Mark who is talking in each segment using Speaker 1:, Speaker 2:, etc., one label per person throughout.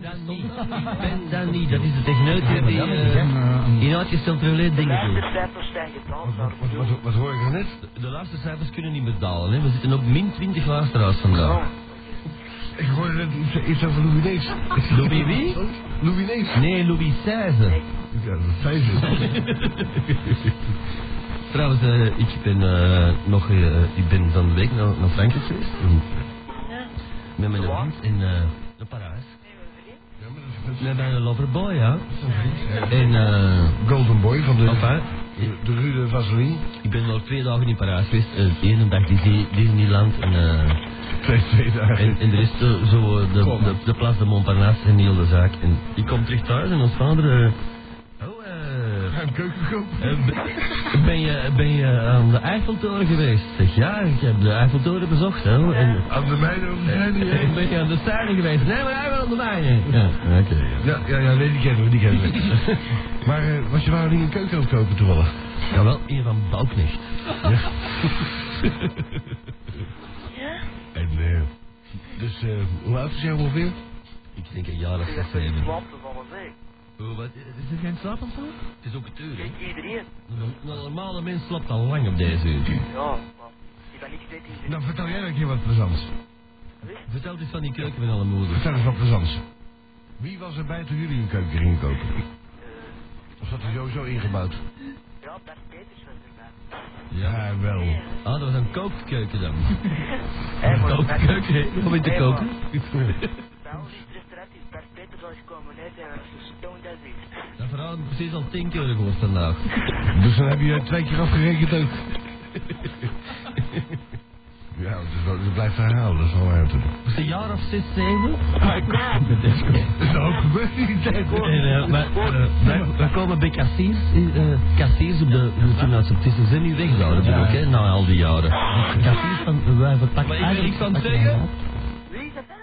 Speaker 1: ben niet. Ik ben dat niet. Dat is de techneutje die, eh, die uitgesteld relais dingen doet.
Speaker 2: De cijfers stijgen trouwens naar
Speaker 3: Wat, wat,
Speaker 2: beneden.
Speaker 3: wat, wat hoor ik er net?
Speaker 1: De laatste cijfers kunnen niet meer dalen. Hè. We zitten op min 20 luisteraars vandaag.
Speaker 3: Ik hoorde net iets- iets over Louis Nees.
Speaker 1: Louis wie?
Speaker 3: Louis Nees.
Speaker 1: Nee, Louis XVI.
Speaker 3: Ja, dat zijn ze.
Speaker 1: Trouwens, eh, ik ben eh, nog eh, ik ben van de week naar, naar Frankrijk geweest. Met mijn vriend in eh, naar Parijs.
Speaker 3: Ja, maar dat is- dat is-
Speaker 1: Met mijn loverboy, ja.
Speaker 3: dat is een vriend.
Speaker 1: En eh,
Speaker 3: Golden Boy van de,
Speaker 1: enfin,
Speaker 3: de, de Rude Vaseline.
Speaker 1: ik ben nog twee dagen in Parijs geweest. Eh, de ene dag Disney- Disneyland en, eh,
Speaker 3: Twee, twee dagen.
Speaker 1: en, en de rest eh, zo eh, de,
Speaker 3: Kom.
Speaker 1: de, de Place de Montparnasse en heel de zaak. En ik kom terug thuis en ons vader... eh, oh, eh,
Speaker 3: Een keukenkoop.
Speaker 1: Eh, ben- Ben je, ben je aan de Eiffeltoren geweest? Zeg ja, ik heb de Eiffeltoren bezocht. Hè, en,
Speaker 3: Aan de mijne over zijn die, eh. hè?
Speaker 1: en ben je aan de Stijnen geweest? Nee, maar hij wel aan de mijne. Ja, oké. ja.
Speaker 3: Ja, ja, ja, nee, die kennen we, die kennen we. maar eh, was je wou niet een keuken aan het kopen toevallig?
Speaker 1: Jawel, een van Bouwknecht.
Speaker 3: En, eh, dus, eh, hoe oud is jij ongeveer?
Speaker 1: Ik denk een jaar of
Speaker 2: Ik
Speaker 1: zes,
Speaker 2: heb een
Speaker 1: zeven.
Speaker 2: klanten van een zee.
Speaker 1: Oh, wat, is er geen slaap of zo? Het is ook het uur, hè?
Speaker 2: Kijk, iedereen.
Speaker 1: Een normale mens slaapt al lang op deze uur.
Speaker 2: Ja, maar ik ben niks tegen die
Speaker 3: Nou, vertel jij een keer wat plezants.
Speaker 1: Vertel eens van die keuken van alle moeder.
Speaker 3: Vertel eens wat plezants. Wie was er bij toen jullie een keuken gingen kopen? Of zat hij sowieso ingebouwd?
Speaker 2: Ja, Bert Peters was erbij.
Speaker 1: Ja.
Speaker 3: wel.
Speaker 1: Ah, dat was een kookkeuken dan.
Speaker 2: Hij
Speaker 1: Een
Speaker 2: was
Speaker 1: kookkeuken, hè? Om in te
Speaker 2: Hij
Speaker 1: koken.
Speaker 2: was- Belgisch restaurant is Bert Peters al gekomen. Hij zei, dat is stoned as it.
Speaker 1: Dat verhaal heb ik precies al tien keer gehoord vandaag.
Speaker 3: Dus dan heb je eh, twee keer afgerekend ook. ja, het, is wel, het blijft herhalen, dat is wel waar natuurlijk.
Speaker 1: Het is een jaar of zes, zeven. Ah, ik kom.
Speaker 3: Dat is ook gebeurd in die tijd hoor.
Speaker 1: Eh, Wij komen bij Cassis, eh, Cassis op de, de toen als op tussen zijn nu weg zouden ja. ook, hè, na al die jaren. Cassis van, eh, wij verpakken Maar ik ben niks aan het zeggen.
Speaker 2: Wie is dat dan?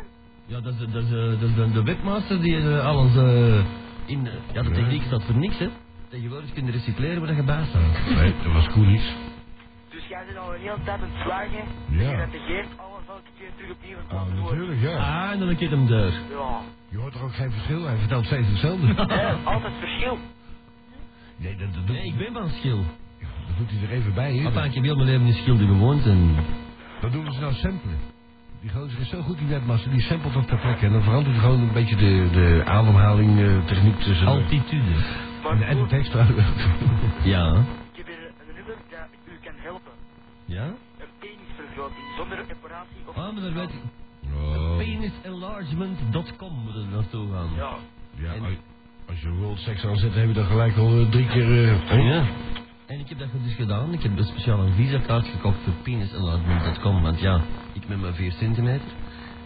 Speaker 1: Ja, dat is, de- dat is, eh, dat is de, de webmaster die eh, alles eh, in, eh, ja de techniek staat voor niks hè. Tegenwoordig kun je recycleren waar dat je bij staat.
Speaker 3: Nee, dat was Koenies.
Speaker 2: Dus jij zit al een hele tijd aan het slagen.
Speaker 3: Ja.
Speaker 2: Je reageert alles elke keer terug opnieuw en
Speaker 3: Ah,
Speaker 2: komt door.
Speaker 3: natuurlijk, ja.
Speaker 1: Ah, en dan een keer hem deur.
Speaker 2: Ja.
Speaker 3: Je hoort er ook geen verschil, hij vertelt steeds hetzelfde.
Speaker 2: Eh, altijd verschil.
Speaker 3: Nee, dat, dat, doet,
Speaker 1: Nee, ik ben van Schil.
Speaker 3: dat doet hij er even bij, hè.
Speaker 1: Papa, ik heb heel mijn leven in Schilde gewoond en...
Speaker 3: Dat doen ze nou samplen. Die gozer is zo goed, die webmaster, die samplet dat ter plekke. En dan verandert gewoon een beetje de, de ademhaling, eh, techniek tussen...
Speaker 1: Altitude.
Speaker 2: Maar
Speaker 3: en, en de
Speaker 2: goed,
Speaker 3: tekst
Speaker 1: Ja.
Speaker 3: trouwens.
Speaker 2: ik heb hier een nummer dat u kan helpen.
Speaker 1: Ja?
Speaker 2: Een penisvergroting zonder reparatie of...
Speaker 1: Ah, maar daar weet ik...
Speaker 3: Oh.
Speaker 1: Penisenlargement.com moet er naartoe gaan.
Speaker 2: Ja.
Speaker 3: Ja,
Speaker 1: En-
Speaker 3: als- als je World Sex aanzet, heb je dan gelijk al eh, drie keer... eh, hè?
Speaker 1: Ja. En ik heb dat dus gedaan. Ik heb dus speciaal een visakaart gekocht voor penisenlargement.com. Want ja, ik ben maar 4 centimeter.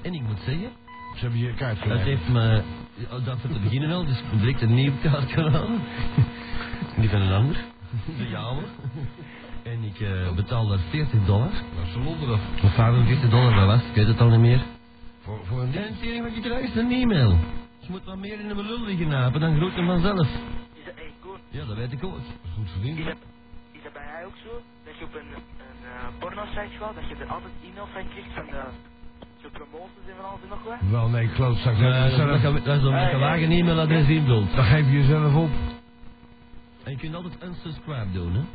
Speaker 1: En ik moet zeggen,
Speaker 3: Ze hebben je kaart
Speaker 1: dat
Speaker 3: gelijk.
Speaker 1: heeft me... ja, Dat voor te beginnen al, dus ik heb direct een nieuwe kaart gedaan. Die van een ander. De jouwe. En ik eh, betaal daar 40 dollar.
Speaker 3: Dat is van Londen af.
Speaker 1: Of 45 dollar, dat was, ik weet het al niet meer.
Speaker 3: Voor, voor een
Speaker 1: En
Speaker 3: ding.
Speaker 1: het enige wat je krijgt is een e-mail. Je moet wat meer in de lul liggen napen, dan groeit hem vanzelf.
Speaker 2: Is dat echt goed?
Speaker 1: Ja, dat weet ik ook.
Speaker 3: Dat is goed
Speaker 2: Is
Speaker 3: verdiend.
Speaker 2: dat, is dat bij jou ook zo? Dat je op een, een eh, porno-site gaat, dat je er altijd e-mail van krijgt van de... Zo promoties en van alles en nog wat?
Speaker 3: Wel, nee, klootzak.
Speaker 1: Nee,
Speaker 3: dat
Speaker 1: dat
Speaker 3: is
Speaker 1: is omdat
Speaker 3: zelf-
Speaker 1: je- dat is omdat je
Speaker 2: Ah,
Speaker 1: wagen e-mailadres invult.
Speaker 3: Dan geef je jezelf op.
Speaker 1: En je kunt altijd unsubscribe doen, hè?
Speaker 2: Eh,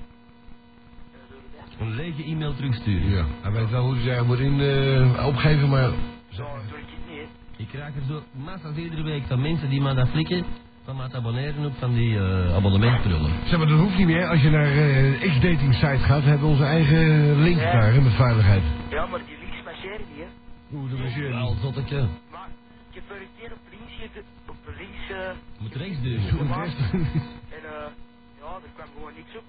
Speaker 2: door de-
Speaker 1: Een lege e-mail terugsturen.
Speaker 3: Ja, hij weet wel hoe hij zich moet in, eh, opgeven, maar...
Speaker 2: Ja, door ik niet, hè.
Speaker 1: Ik krijg er zo massa's iedere week van mensen die me dat flikken, van me te abonneren op van die eh abonnementprullen.
Speaker 3: Zeg maar, dat hoeft niet meer. Als je naar eh X-dating site gaat, hebben we onze eigen link
Speaker 2: Ja.
Speaker 3: daar, hè, met veiligheid.
Speaker 2: Ja, maar die links marcheren niet, hè.
Speaker 3: Hoe dat
Speaker 1: Al zotteke.
Speaker 2: Maar ik heb er een keer op links gezet, op links eh,
Speaker 1: Moet rechts duwen.
Speaker 2: gemaakt. En eh, ja, er kwam gewoon niks op.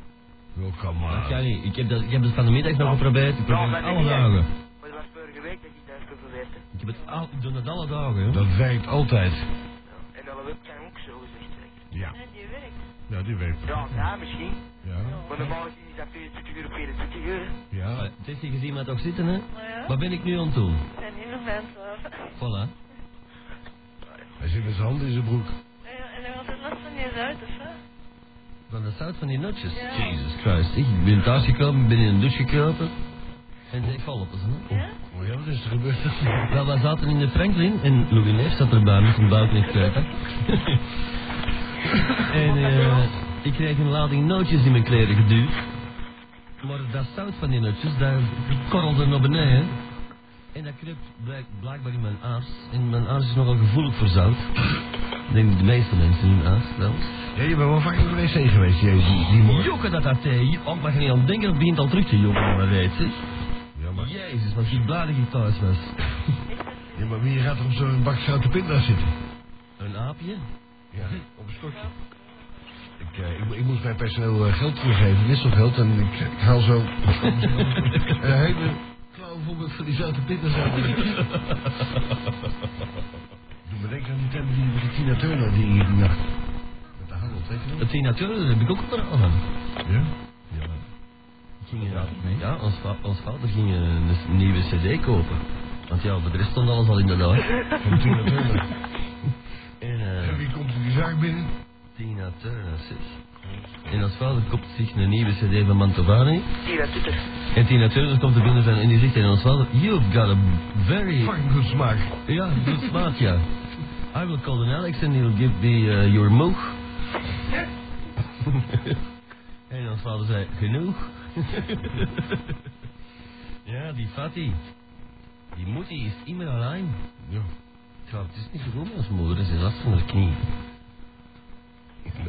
Speaker 3: Welkom,
Speaker 1: Dat
Speaker 3: maar.
Speaker 1: kan niet. Ik heb, dat, ik heb het van de middag nog geprobeerd. Ik probeer het
Speaker 2: maar
Speaker 1: alle
Speaker 2: niet, hè.
Speaker 1: dagen.
Speaker 2: Maar dat was vorige week dat ik daar geprobeerd heb.
Speaker 1: Ik, heb het al, ik doe het alle dagen, hè?
Speaker 3: Dat werkt altijd.
Speaker 2: Ja. En alle webcam ook zo gezegd. hè.
Speaker 3: Ja.
Speaker 4: En die werkt.
Speaker 3: Ja, die werkt.
Speaker 2: Ja, ja, misschien.
Speaker 3: Ja.
Speaker 2: Maar normaal gezien is dat 24 uur op 24 uur. hè.
Speaker 3: Ja.
Speaker 1: Het is hier gezien maar toch zitten, hè?
Speaker 4: Nou ja,
Speaker 1: Wat ben ik nu aan het doen?
Speaker 4: ik ben niet meer mensen af.
Speaker 1: Voilà.
Speaker 3: Hij zit met zijn hand in zijn broek.
Speaker 4: En dan was het last van je uit, of hè?
Speaker 1: Van de zout van die nutjes.
Speaker 4: Ja.
Speaker 1: Jesus Christ. Ik ben thuis gekomen, ben in een douche gekropen. En ik val op eens, hè?
Speaker 4: Ja?
Speaker 3: Oh, Ja, wat is er gebeurd?
Speaker 1: Wel, wij zaten in de Franklin en Louis Neef zat erbij met zijn buik niet kwijt. en eh, ik kreeg een lading nootjes in mijn kleren geduwd. Maar dat zout van die nootjes, daar korrelde naar beneden. En dat kruipt blijk- blijkbaar in mijn aars. En mijn aars is nogal gevoelig voor zout. Ik denk de meeste mensen hun aars wel.
Speaker 3: Ja, je bent wel vaak in de wc geweest, jezus, die, die morgen.
Speaker 1: Jokken dat dat thee. Ook mag je oh, niet aan denken, het begint al terug te jokken, maar dat weet je.
Speaker 3: Ja, maar,
Speaker 1: Jezus, wat ik blij dat ik thuis was.
Speaker 3: ja, maar wie gaat er op zo'n bak zoute pinda zitten?
Speaker 1: Een aapje?
Speaker 3: Ja, op een stokje. Ik, eh, ik, ik moest mijn personeel eh, geld teruggeven, wisselgeld, en ik, eh, ik haal zo een hele klauw voorbeeld van die zoute pindas uit. Doe me denken aan die tent die met die Tina Turner die die nacht. Met de handel, weet je wel?
Speaker 1: Het zijn natuurlijk, daar heb ik ook een verhaal van.
Speaker 3: Ja?
Speaker 1: Ging, eh, ja, ons, va- ons vader ging eh, een nieuwe cd kopen. Want ja, voor de rest stond alles al in de laag.
Speaker 3: Van Tina Turner.
Speaker 1: En
Speaker 3: En
Speaker 1: eh,
Speaker 3: wie komt in die zaak binnen?
Speaker 1: Tina Turner, zeg. En ons vader koopt zich een nieuwe cd van Mantovani.
Speaker 2: Zie dat doet er.
Speaker 1: En Tina Turner komt er binnen van, en die zegt tegen ons vader... You've got a very...
Speaker 3: Fucking goed smaak.
Speaker 1: Ja, good smaak, ja. I will call an Alex and he'll give me eh, your moog. en ons vader zei, genoeg. ja, die fatty. Die moeder is immer alleen.
Speaker 3: Ja.
Speaker 1: Ja, het is niet zo goed met ons moeder, ze is last van haar knie.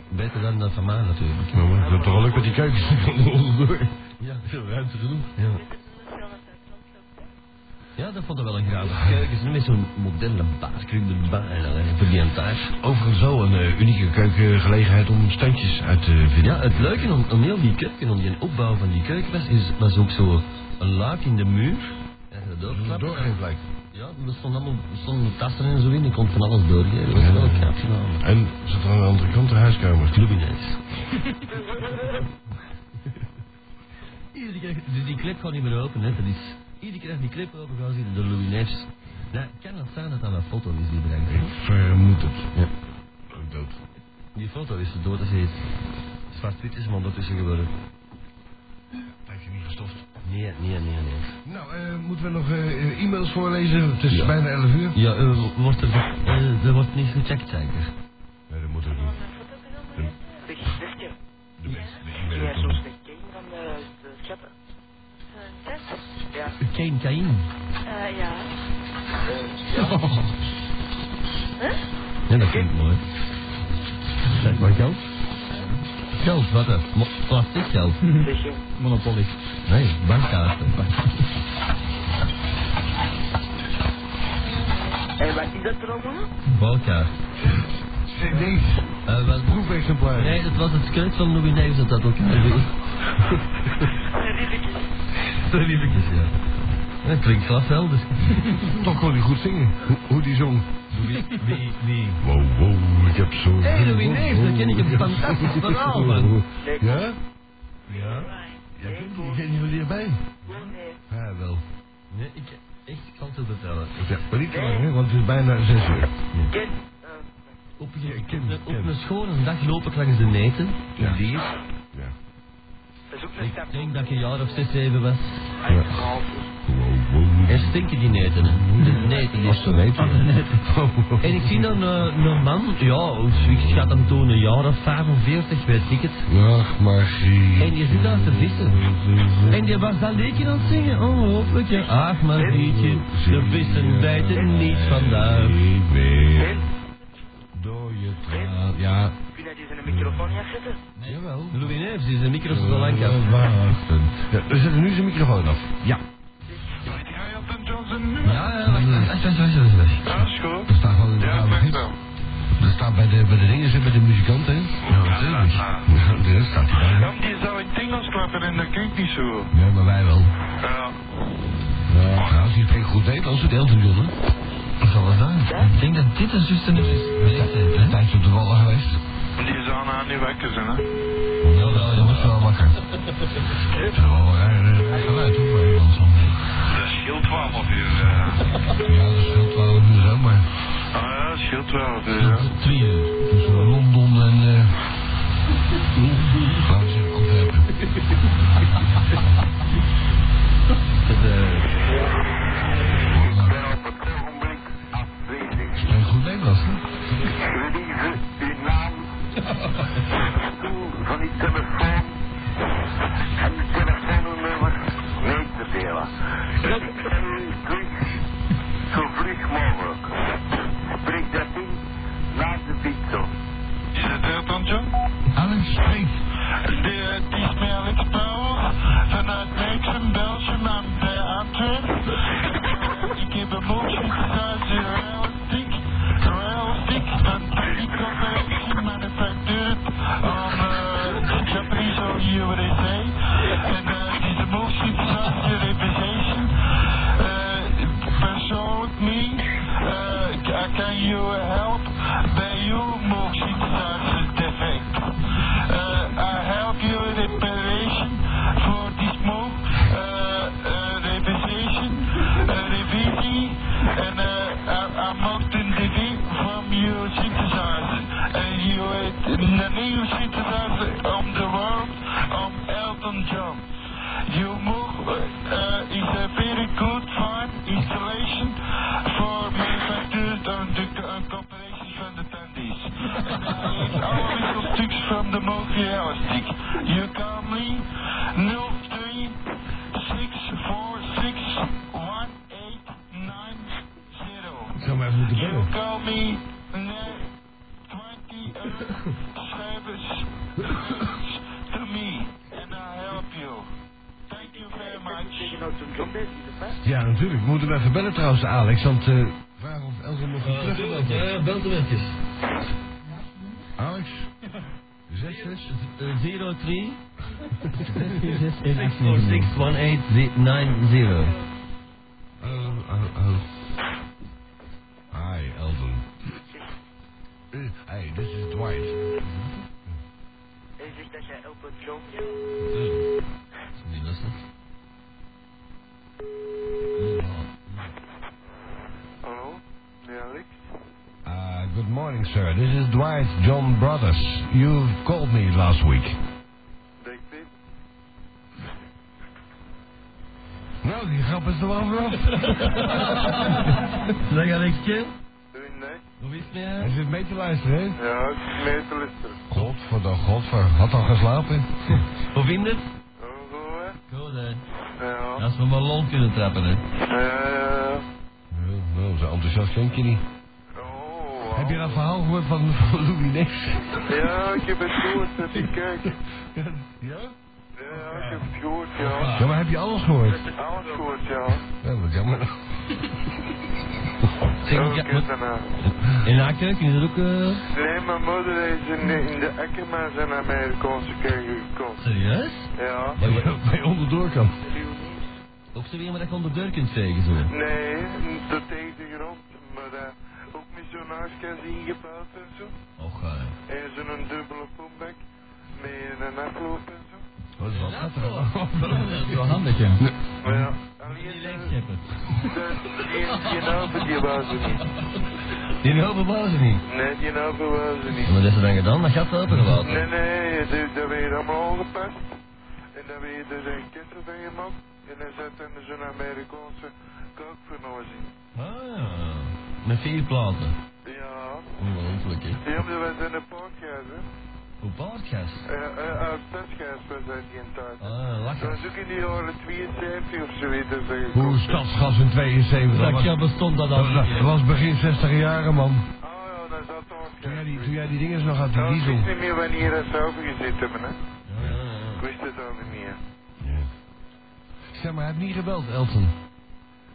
Speaker 1: Beter dan dat van mij natuurlijk.
Speaker 3: Nou, maar dat toch wel leuk met die kijkers.
Speaker 1: Ja,
Speaker 3: Veel ruimte genoeg.
Speaker 1: ja.
Speaker 4: Dit is een film dat uit Zandvoort komt.
Speaker 1: ja dat vond ik wel een graaf. Kijk eens, nu met zo'n modellenbaas, kruk erbij en dan heb je een taart.
Speaker 3: Overigens wel een eh, unieke keukengelegenheid om standjes uit te vinden.
Speaker 1: Ja, het leuke om, om heel die keuken, om die opbouw van die keuken was, is, was ook zo een luik in de muur. En je
Speaker 3: Dat is een
Speaker 1: doorklapt.
Speaker 3: doorgeef blijkt.
Speaker 1: Ja, er stonden allemaal er stonden tassen en zo in, ik kon van alles doorgeven. Dat was wel een knap gedaan.
Speaker 3: En zit er aan de andere kant de huiskamer.
Speaker 1: Clubinees. Iedere keer, dus die clip gaat niet meer open, hè. Dat is, iedere keer als die clip open gaat, zitten de Lumineers. Nou, kan het zijn dat dat een foto is die bedankt
Speaker 3: Ik vermoed het.
Speaker 1: Ja.
Speaker 3: Ook dood.
Speaker 1: Die foto is dood als heet. Zwart-wit is hem ondertussen geworden.
Speaker 3: Heeft je niet gestopt.
Speaker 1: Nee, nee, nee, nee.
Speaker 3: Nou, eh, moeten we nog eh, e-mails voorlezen? Het is
Speaker 1: Ja.
Speaker 3: bijna 11 uur.
Speaker 1: Ja, eh, wordt er, eh, er wordt niet gecheckt zeker.
Speaker 3: Nee, dat moet ook
Speaker 4: Allemaal
Speaker 3: niet.
Speaker 4: mijn foto's en zo.
Speaker 2: Zeg, zeg je.
Speaker 3: De mensen, de
Speaker 2: Kun
Speaker 3: e-mail
Speaker 2: jij
Speaker 3: komt
Speaker 2: zo
Speaker 3: niet.
Speaker 2: slecht kijken van de, de schatten?
Speaker 4: Een test.
Speaker 2: Ja.
Speaker 1: Kain Kain.
Speaker 4: Eh, ja.
Speaker 2: eh, ja.
Speaker 4: Huh?
Speaker 1: Ja, dat klinkt mooi. Zeg maar geld. Geld, wat hè? Mo- Plastic geld.
Speaker 2: Zeg je.
Speaker 1: Monopoly. Nee, bankkaarten.
Speaker 2: En Eh, wat is dat er allemaal?
Speaker 1: Bankkaart.
Speaker 3: CD's,
Speaker 1: Eh, wel-
Speaker 3: proefexemplaren.
Speaker 1: Nee, het was het kruid van Louis Neves dat dat ook.
Speaker 4: Een ribbetje.
Speaker 1: Twee liefjes, ja. Dat klinkt glashelder.
Speaker 3: Toch kon hij goed zingen. Hoe, hoe die zong.
Speaker 1: Wie, wie, wie?
Speaker 3: Wow, wow, ik heb zo...
Speaker 1: Hey, Louis Neef, daar ken ik een
Speaker 3: Wow, wow,
Speaker 1: fantastisch
Speaker 3: wow.
Speaker 1: verhaal van.
Speaker 2: Nee,
Speaker 3: Ja?
Speaker 1: Ja.
Speaker 3: Ja, ken je- ken je wel hierbij?
Speaker 2: nee.
Speaker 3: Ja, wel.
Speaker 1: Nee, ik, echt, ik kan het wel vertellen.
Speaker 3: Ja, maar niet te lang, hè, want het is bijna 6 uur.
Speaker 2: Ken. eh,
Speaker 1: Op,
Speaker 3: Ja, ik ken
Speaker 1: op,
Speaker 3: het,
Speaker 1: op
Speaker 3: ken het.
Speaker 1: een schone dag loop ik langs de neten, in
Speaker 3: Ja.
Speaker 1: Lier.
Speaker 3: Ja.
Speaker 2: Dat is ook een Ah, stap.
Speaker 1: Ik denk dat ik een jaar of zes, zeven was.
Speaker 2: Eigenlijk een half uur.
Speaker 3: Wow, wow.
Speaker 1: En stinken die neten, hè? De neten die
Speaker 3: Als Oh, ze weten.
Speaker 1: Ah, de neten. En ik zie dan eh, een man, ja, ik schat hem toen een jaar of 45, weet ik het.
Speaker 3: Dag Margriet.
Speaker 1: En die zit daar te vissen. En die was dat liedje aan het zingen, ongelooflijk. hè. Ach, maar liedje, de vissen bijten niet vandaag.
Speaker 3: Niet meer.
Speaker 2: Ken.
Speaker 3: Door je traan. Ja.
Speaker 2: Kun je deze microfoon niet afzetten?
Speaker 3: Jawel.
Speaker 1: Louis Neefs is een micro zo lang af.
Speaker 3: Ja, we zetten nu zijn microfoon af. Ja.
Speaker 1: Ja, ja, wacht, wacht, wacht, wacht, wacht, wacht.
Speaker 5: Ja, is goed.
Speaker 3: Er staat wel in de
Speaker 5: Ja,
Speaker 3: oude
Speaker 5: dat
Speaker 3: gids.
Speaker 5: wel.
Speaker 3: Er staat bij de, bij de dingen zit bij de muzikant, hè? Ja, natuurlijk. Ja, daar staat hij
Speaker 5: Ja,
Speaker 3: bij.
Speaker 5: maar die zou in het Engels klappen en dat klinkt niet zo.
Speaker 3: Ja, maar wij wel.
Speaker 5: Ja.
Speaker 3: Ja, nou, als hij het goed weet, als we het Elton John, hè? Dat zal wel zijn. Ik denk dat dit een zuster is. Een tijdje op de wallen geweest.
Speaker 5: Die zou nou niet wekken zijn, hè.
Speaker 3: Ja, wel, je wordt wel wakker. Het is wel een raar eh, geluid hoor, bij Engels.
Speaker 5: Dat scheelt 12 uur. eh.
Speaker 3: Ja, dat scheelt 12 uur zo, maar.
Speaker 5: Ah ja, dat scheelt 12 uur, ja.
Speaker 3: Twee uur. Tussen Londen en. eh laten we zeggen Antwerpen.
Speaker 1: Het, eh,
Speaker 5: eh, Eh,
Speaker 6: Uh, uh, uh, humor uh, is a very good fine installation for manufacturers and the co- uh, corporations from the attendees. It's our little sticks from the movie realistic. You call me 036461890.
Speaker 3: Ik zou maar even moeten
Speaker 6: You
Speaker 3: bellen.
Speaker 6: call me net 20 service to me and I'll help you. Thank you very
Speaker 2: Je
Speaker 6: much.
Speaker 2: nou toen jong bezig is, of hè?
Speaker 3: Ja, natuurlijk. We moeten hem even bellen trouwens, Alex. Want eh vraag of Elsa nog
Speaker 1: Eh,
Speaker 3: een terug wil lopen.
Speaker 1: Ja, belt hem eventjes.
Speaker 3: Alex? 66?
Speaker 1: Eh, 03 6461890.
Speaker 3: Oh, oh, oh. Hi, Elvin. Eh, hey, this is Dwight.
Speaker 2: Hij zegt dat jij Elton John bent.
Speaker 1: Niet lastig.
Speaker 6: Hallo, meneer Alex.
Speaker 3: Uh, good morning, sir. This is Dwight John Brothers. You called me last week.
Speaker 6: Denk dit.
Speaker 3: Nou, die grap is er wel vanaf.
Speaker 1: Zeg Alex Kim.
Speaker 6: Doe je nee?
Speaker 1: Hoe is het
Speaker 3: Hij zit mee te luisteren, hè?
Speaker 6: Ja, ik zit mee te luisteren.
Speaker 3: Godverdomme, godver. Had al geslapen?
Speaker 1: Hoe vind je het?
Speaker 6: Oh, goed hè?
Speaker 1: Goed hè.
Speaker 6: Ja.
Speaker 1: Als we maar lol kunnen trappen hè.
Speaker 6: Ja, ja, ja.
Speaker 3: Nou, nou, zo enthousiast denk je niet.
Speaker 6: Oh, wow.
Speaker 3: Heb je dat verhaal gehoord van, van Louis Nix?
Speaker 6: Ja, ik heb het gehoord, heb je kijk.
Speaker 3: Ja?
Speaker 6: Ja, ik heb het gehoord, ja.
Speaker 3: Ja, maar heb je alles gehoord?
Speaker 6: Alles gehoord, ja.
Speaker 3: Ja, wat jammer.
Speaker 1: Zeg,
Speaker 6: Oké,
Speaker 1: moet je- moet-
Speaker 6: daarna.
Speaker 1: in haar keuken is er ook... eh,
Speaker 6: eh, Nee, mijn moeder is in, in de Ekkermaas in Amerikaanse kerk gekomen.
Speaker 1: Serieus?
Speaker 6: Ja.
Speaker 3: Bij onderdoorkant.
Speaker 1: Ook zo weer maar dat je onder deur kunt vegen zo.
Speaker 6: Nee, dat tegen de grond. Maar eh, ook met zo'n huiskast ingebouwd en zo.
Speaker 1: Och, eh.
Speaker 6: En zo'n dubbele pompbek. Met een afloop en zo.
Speaker 3: Wat is dat?
Speaker 1: Dat is wel handig hè.
Speaker 6: Maar ja,
Speaker 1: Die
Speaker 6: alleen eh,
Speaker 1: lijkscheppen.
Speaker 6: de- die- die naven die waren ze niet.
Speaker 1: Die helpen waren ze niet.
Speaker 6: Nee, die naven waren ze niet.
Speaker 1: En wat is er dan gedaan? Dat gaat helpen gewoon.
Speaker 6: Nee, nee, dat, dat werd allemaal aangepast. En dan werd er een kessel van gemaakt. En dan zat er zo'n Amerikaanse kookvernozing.
Speaker 1: Ah, ja. Met vier platen.
Speaker 6: Ja.
Speaker 1: Ongelooflijk hè.
Speaker 6: Die hebben we in een pakjes, hè.
Speaker 1: Hoe paardgas?
Speaker 6: Eh, eh, Uit Tasjes was dat die een tijd.
Speaker 1: Ah,
Speaker 6: Dat
Speaker 1: lachen.
Speaker 6: was ook in de jaren 72 of zoiets. dat ze gekocht
Speaker 3: Hoe
Speaker 6: hebben.
Speaker 3: stadsgas in 72? Dat was,
Speaker 1: jaar bestond dat
Speaker 3: dat- dat was begin 60 jaren, man.
Speaker 6: Oh ja, dat zat ook.
Speaker 3: Toen jij die, toen jij die dingen nog had, die
Speaker 6: Nou, ik
Speaker 3: diesel.
Speaker 6: wist niet meer wanneer dat ze overgezet hebben, hè.
Speaker 1: Ja, ja, ja.
Speaker 6: Ik wist het al niet meer.
Speaker 3: Ja. Zeg maar, hij heeft niet gebeld, Elton.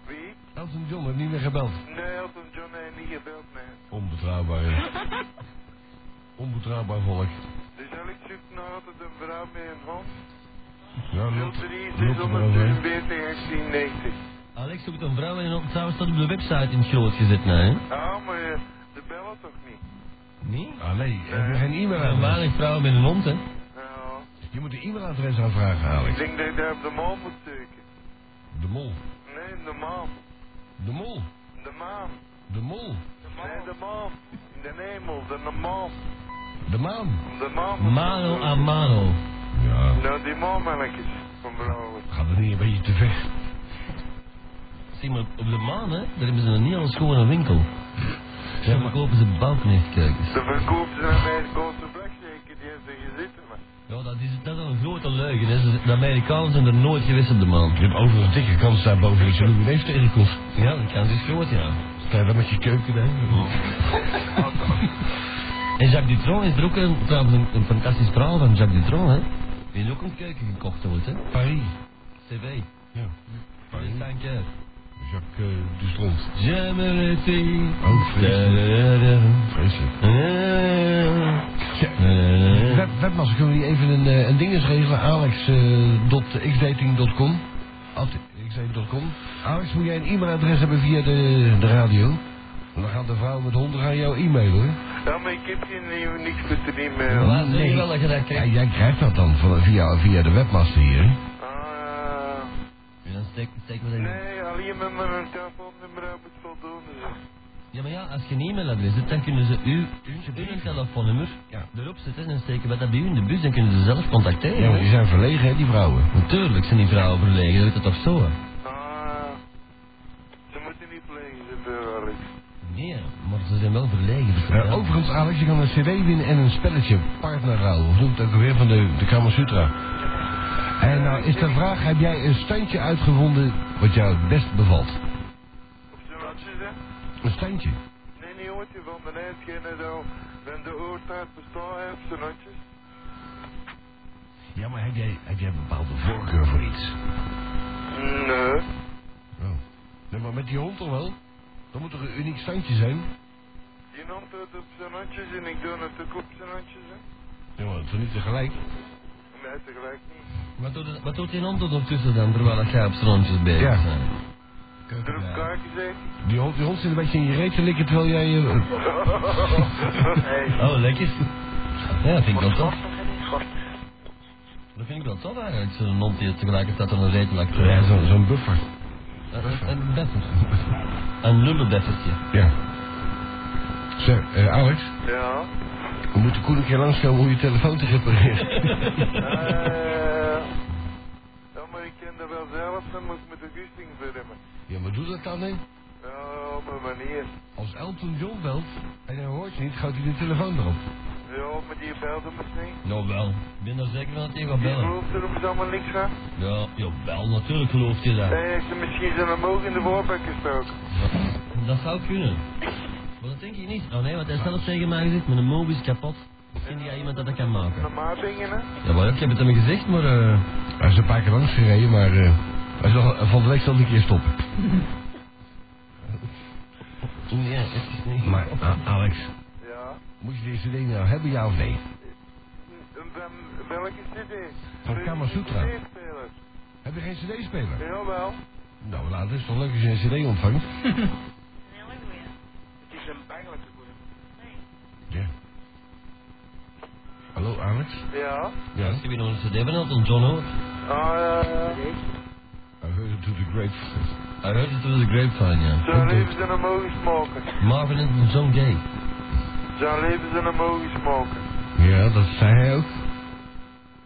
Speaker 6: Wie?
Speaker 3: Elton John heeft niet meer gebeld.
Speaker 6: Nee, Elton John heeft niet gebeld, nee.
Speaker 3: Onbetrouwbaar. hè. Onbetrouwbaar volk.
Speaker 6: Dus Alex zoekt nog altijd een vrouw met een hond.
Speaker 3: Ja, loopt,
Speaker 6: 03
Speaker 3: loopt er wel weer.
Speaker 6: 642 1890.
Speaker 1: Alex zoekt een vrouw en op, trouwens staat op de website in het groot gezet, nee? hè?
Speaker 6: Ah, maar eh, de bellen toch niet?
Speaker 1: Nee?
Speaker 3: Ah nee, heb je geen
Speaker 1: Een
Speaker 3: e-mailadres?
Speaker 1: weinig vrouwen met een hond, hè?
Speaker 6: Nou,
Speaker 3: Je moet de e-mailadres aanvragen,
Speaker 6: ik
Speaker 3: Alex.
Speaker 6: denk dat je daar op de maan moet steken.
Speaker 3: De mol.
Speaker 6: Nee, de maan.
Speaker 3: De mol.
Speaker 6: De maan.
Speaker 3: De mol.
Speaker 6: Nee, de maan. In de hemel, de de maan.
Speaker 3: De maan.
Speaker 6: De maan.
Speaker 1: Mano a mano.
Speaker 3: Ja.
Speaker 6: Nou, die maanmannetjes van vrouwen.
Speaker 3: Gaat het niet Ah, een beetje te ver?
Speaker 1: Zie maar, op de maan, hè, daar hebben ze een heel schone winkel. Daar verkopen ze bouwknechtkijkers.
Speaker 6: De verkoop zijn bij het grote plek zeker, die hebben ze gezeten, man.
Speaker 1: Ja, dat is, dat is een grote leugen, hè. Ze- De Amerikanen zijn er nooit geweest op de maan.
Speaker 3: Je hebt overigens een dikke kans daar boven dat je Louis Neef tegenkomt.
Speaker 1: Ja, dat kan dus groot, ja.
Speaker 3: Sta je dan met je keuken hè?
Speaker 1: En Jacques Dutron is er ook een, trouwens een, een fantastisch verhaal van Jacques Dutron, hè. Die is ook een keuken gekocht wordt, hè.
Speaker 3: Paris.
Speaker 1: CV.
Speaker 3: Ja. Paris.
Speaker 1: Dus dank je.
Speaker 3: Jacques uh, Dustront.
Speaker 1: J'aimerais te-
Speaker 3: Oh,
Speaker 1: Da-da-da-da.
Speaker 3: Vreselijk.
Speaker 1: Eh, eh,
Speaker 3: Web, webmaster, kunnen we niet even een, eh, een ding eens regelen? eh, Alex.xdating.com At xdating.com Alex, moet jij een e-mailadres hebben via de, de radio? Want dan gaat de vrouw met honden gaan jou e-mailen, hoor.
Speaker 6: Ja, Nou, maar ik heb hier niks met de e-mail.
Speaker 1: Maar zeg je wel dat je dat
Speaker 3: Ja,
Speaker 1: krijgt.
Speaker 3: jij krijgt dat dan van, via, via de webmaster hier, hè?
Speaker 6: Ah,
Speaker 1: En dan steek, steek we dat in.
Speaker 6: nee, alleen met mijn telefoonnummer op het voldoende, zeg.
Speaker 1: Ja, maar ja, als je een e-mailadres hebt, dan kunnen ze u,
Speaker 3: brief.
Speaker 1: uw telefoonnummer
Speaker 3: Ja.
Speaker 1: erop zetten en steken we dat bij u in de bus. Dan kunnen ze zelf contacteren.
Speaker 3: Ja, maar die zijn verlegen, hè, die vrouwen.
Speaker 1: Natuurlijk zijn die vrouwen verlegen, dat weet je toch zo? hè?
Speaker 6: Ah, ze moeten niet plegen, ze hebben Alex.
Speaker 1: Nee, maar ze zijn wel verlegen. dat is
Speaker 3: Eh,
Speaker 1: wel-
Speaker 3: overigens, Alex, je kan een cd winnen en een spelletje. Partnerruil, of noemt het ook weer van de, de Kama Sutra. En nou is de vraag, heb jij een standje uitgevonden wat jou het best bevalt?
Speaker 6: Op zijn wat ze zeggen?
Speaker 3: Een standje?
Speaker 6: Nee, nee, jongetje, van de net kennen dan. Wenn de oortijd bestaan heeft, zijn handjes.
Speaker 3: Ja, maar heb jij, heb jij een bepaalde voorkeur voor iets?
Speaker 6: Nee.
Speaker 3: Oh. Nee, maar met die hond toch wel? Dat moet toch een uniek standje zijn?
Speaker 6: Je nam het op zijn handjes en ik doe het ook op zijn handjes, hè.
Speaker 3: Ja, maar toch niet tegelijk?
Speaker 6: Nee, tegelijk niet.
Speaker 1: Wat doet, het- wat doet die hond ondertussen dan, terwijl dat jij op stroontjes bezig
Speaker 3: Ja.
Speaker 1: bent?
Speaker 6: Druk kaartjes, hè.
Speaker 3: Die hond, die hond zit een beetje in je reet te likken terwijl jij... eh,
Speaker 2: Nee.
Speaker 1: Oh, lekker. Ja, dat vind ik wel tof.
Speaker 2: Schort.
Speaker 1: Dat vind ik wel tof eigenlijk, zo'n hond die tegelijkertijd aan een reet lakt.
Speaker 3: Ja, zo- zo'n buffer.
Speaker 1: Een, een beffer. Een lullebeffertje.
Speaker 3: Ja. Zeg, eh, Alex,
Speaker 6: Ja.
Speaker 3: we moeten Koen een keer langskomen hoe je telefoon te repareren.
Speaker 6: Eh. Ja, maar ik ken dat wel zelf, dan moet ik met de goesting filmen.
Speaker 3: ja, maar doe dat dan, hè?
Speaker 6: Ja, op mijn manier.
Speaker 3: Als Elton John belt en hij hoort niet, gaat hij de telefoon erop.
Speaker 6: Ja, maar die belde me niet.
Speaker 1: Nou wel. Ik ben er zeker van dat hij gaat
Speaker 6: Die
Speaker 1: bellen.
Speaker 6: gelooft er allemaal niks aan.
Speaker 1: Ja, jawel, natuurlijk gelooft hij dat.
Speaker 6: Hij heeft er Eh, misschien zijn omhoog in de voorbak gestoken.
Speaker 1: Dat zou kunnen. Maar dat denk ik niet. Oh nee, want hij heeft zelf tegen mij gezegd, mijn mobiel is kapot. Vind jij iemand dat dat kan maken?
Speaker 6: Normaal dingen, hè?
Speaker 1: Ja, maar ik heb het hem gezegd, maar... eh,
Speaker 3: Hij is een paar keer langs gereden, maar eh, hij zal, van de week zal hij een keer stoppen.
Speaker 1: nee, het is niet.
Speaker 3: Maar, ah, Alex,
Speaker 6: Ja.
Speaker 3: moet je deze ding nou hebben, ja of nee?
Speaker 6: En ben- welke cd?
Speaker 3: Van
Speaker 6: Wil je
Speaker 3: Kama
Speaker 6: die
Speaker 3: Sutra.
Speaker 6: cd spelen?
Speaker 3: Heb je geen cd-speler?
Speaker 6: Jawel.
Speaker 3: Nou, nou, dat is toch leuk als je een cd ontvangt?
Speaker 4: Een hele goeie.
Speaker 2: Het is een eigenlijk een goede.
Speaker 4: Nee.
Speaker 3: Ja. Hallo, Alex?
Speaker 6: Ja.
Speaker 1: Ja, als je weer nog een cd benelt, dan John hoor.
Speaker 6: Ah, ja, ja.
Speaker 3: I heard it to the great...
Speaker 1: I heard it through the grapevine, ja.
Speaker 6: Zijn leven zijn omhoog smoken.
Speaker 1: Marvin en John Gay.
Speaker 6: Zijn leven zijn omhoog smoken.
Speaker 3: Ja, dat zei hij ook.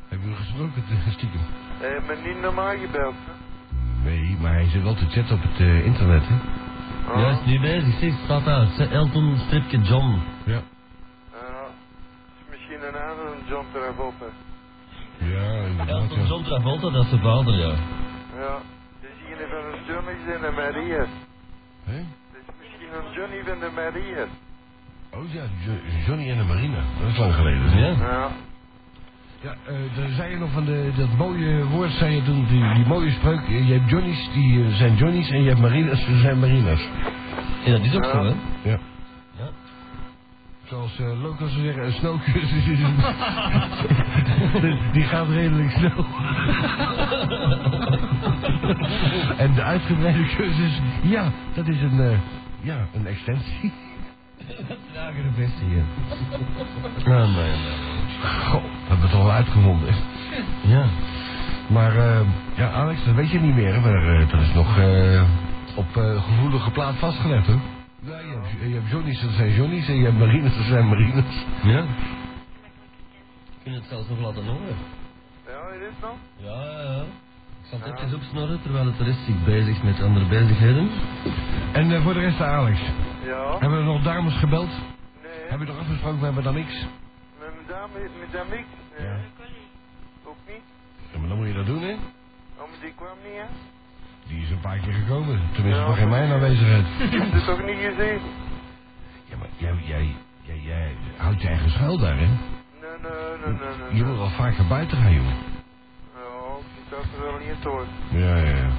Speaker 3: Hebben we gesproken, eh, stiekem?
Speaker 6: Hij heeft me niet normaal gebeld, hè?
Speaker 3: Nee, maar hij zit wel te chatten op het eh, internet, hè?
Speaker 6: Ah,
Speaker 1: Ja, is nu bezig, zie, staat daar. Ze- Elton, stripje John.
Speaker 3: Ja.
Speaker 6: ja. Het is Misschien een andere John Travolta.
Speaker 3: Ja, inderdaad.
Speaker 1: Elton
Speaker 3: Ja.
Speaker 1: John Travolta, dat is zijn vader, ja.
Speaker 6: Ja. Het is hier van een Johnny zijn de Maria's.
Speaker 3: Hè?
Speaker 6: Het is misschien een Johnny van de Maria's.
Speaker 3: Oh ja, Jo- Johnny en de Marina. Dat is lang geleden. hè?
Speaker 1: Ja.
Speaker 6: Ja.
Speaker 3: Ja, eh, daar zei je nog van de, dat mooie woord, zei je toen, die, die mooie spreuk. eh, Je hebt Johnny's, die eh, zijn Johnny's, en je hebt Marina's, die zijn Marina's.
Speaker 1: Ja, dat is ook zo, hè.
Speaker 3: Ja.
Speaker 1: Ja.
Speaker 3: Zoals eh Loco zou zeggen, een snelkus is een- Die gaat redelijk snel. en de uitgebreide cursus, ja, dat is een, eh, ja, een extensie.
Speaker 1: Lagere versie, ja. Ja, maar ja.
Speaker 3: eh, Goh, we hebben het al uitgevonden.
Speaker 1: Ja.
Speaker 3: Maar eh, ja, Alex, dat weet je niet meer, hè, maar eh, dat is nog eh, op eh, gevoelige plaat vastgelegd, hoor. Ja, je hebt, je hebt Johnny's, dat zijn Johnny's, en je hebt Marines, dat zijn Marines.
Speaker 1: Ja. Kun je het zelfs nog laten horen?
Speaker 6: Ja, hier is nog.
Speaker 1: Ja, ja, ja. Ik zal het even opsnorren terwijl het de rest zich bezig is met andere bezigheden.
Speaker 3: En eh, voor de rest, Alex,
Speaker 6: Ja.
Speaker 3: hebben we nog dames gebeld?
Speaker 6: Nee.
Speaker 3: Hebben we nog afgesproken, we hebben dan niks?
Speaker 6: Met madame, met dame X. Nee.
Speaker 3: Ja.
Speaker 4: Een collega.
Speaker 6: Ook niet.
Speaker 3: Ja, maar dan moet je dat doen, hè?
Speaker 6: Oh, maar die kwam niet, hè?
Speaker 3: Die is een paar keer gekomen. Tenminste,
Speaker 6: Ja.
Speaker 3: nog in mijn aanwezigheid.
Speaker 6: Ik heb het toch niet gezien?
Speaker 3: Ja, maar jij, jij, jij, jij houdt je eigen schuil daar, hè?
Speaker 6: Nee, nee, nee, nee, nee.
Speaker 3: Je moet wel vaker buiten gaan, jongen.
Speaker 6: Ja, ik zat er wel niet door.
Speaker 3: Ja, ja, ja.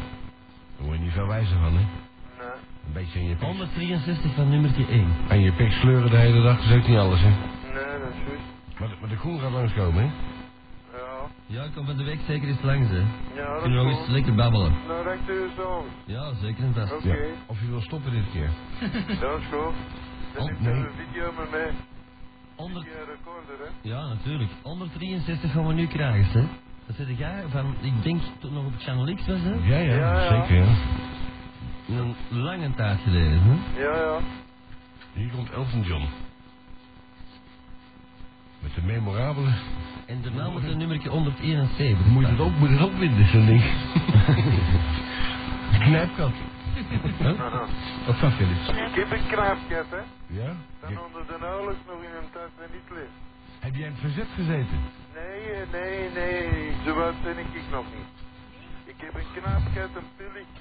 Speaker 3: Daar word je niet veel wijzer van, hè?
Speaker 6: Nee.
Speaker 3: Een beetje aan je pik,
Speaker 1: 163 van nummertje 1.
Speaker 3: aan je pik sleuren de hele dag, dat is ook niet alles, hè?
Speaker 6: Nee, dat is goed.
Speaker 3: Maar de, maar de koel gaat langskomen, hè?
Speaker 6: Ja.
Speaker 1: Ja, ik kom van de week zeker eens langs, hè.
Speaker 6: Ja, dat
Speaker 1: Kunnen we nog
Speaker 6: is
Speaker 1: eens
Speaker 6: goed.
Speaker 1: lekker babbelen?
Speaker 6: Nou, dat doe je zo.
Speaker 1: Ja, zeker en
Speaker 3: Oh.
Speaker 1: vast.
Speaker 6: Oké.
Speaker 3: Of je wil stoppen dit keer.
Speaker 6: Dat is goed. Dan
Speaker 1: Oh,
Speaker 6: heb je
Speaker 3: nee.
Speaker 6: een video met mij.
Speaker 1: 100...
Speaker 6: Die recorder, hè?
Speaker 1: Ja, natuurlijk. 163 gaan we nu krijgen, hè. Dat zit jij van, ik denk toen nog op Channel X was, hè.
Speaker 3: Ja, ja,
Speaker 6: Ja, ja.
Speaker 3: zeker, ja.
Speaker 1: Een lange tijd geleden, hè.
Speaker 6: Ja, ja.
Speaker 3: Hier komt Elton John. Met de memorabele...
Speaker 1: En daarna moet een nummertje 171.
Speaker 3: Moet je dat ook, moet je dat ook winnen, zo'n ding. Knijpkat. Wat van Philips?
Speaker 6: Ik heb een knaapje, hè.
Speaker 3: Ja?
Speaker 6: Dan onder de nauwelijks nog in een tas en niet list.
Speaker 3: Heb jij in het verzet gezeten?
Speaker 6: Nee, eh, nee, nee, zo wat ben ik ik nog niet. Ik heb een knaapje, een publiek.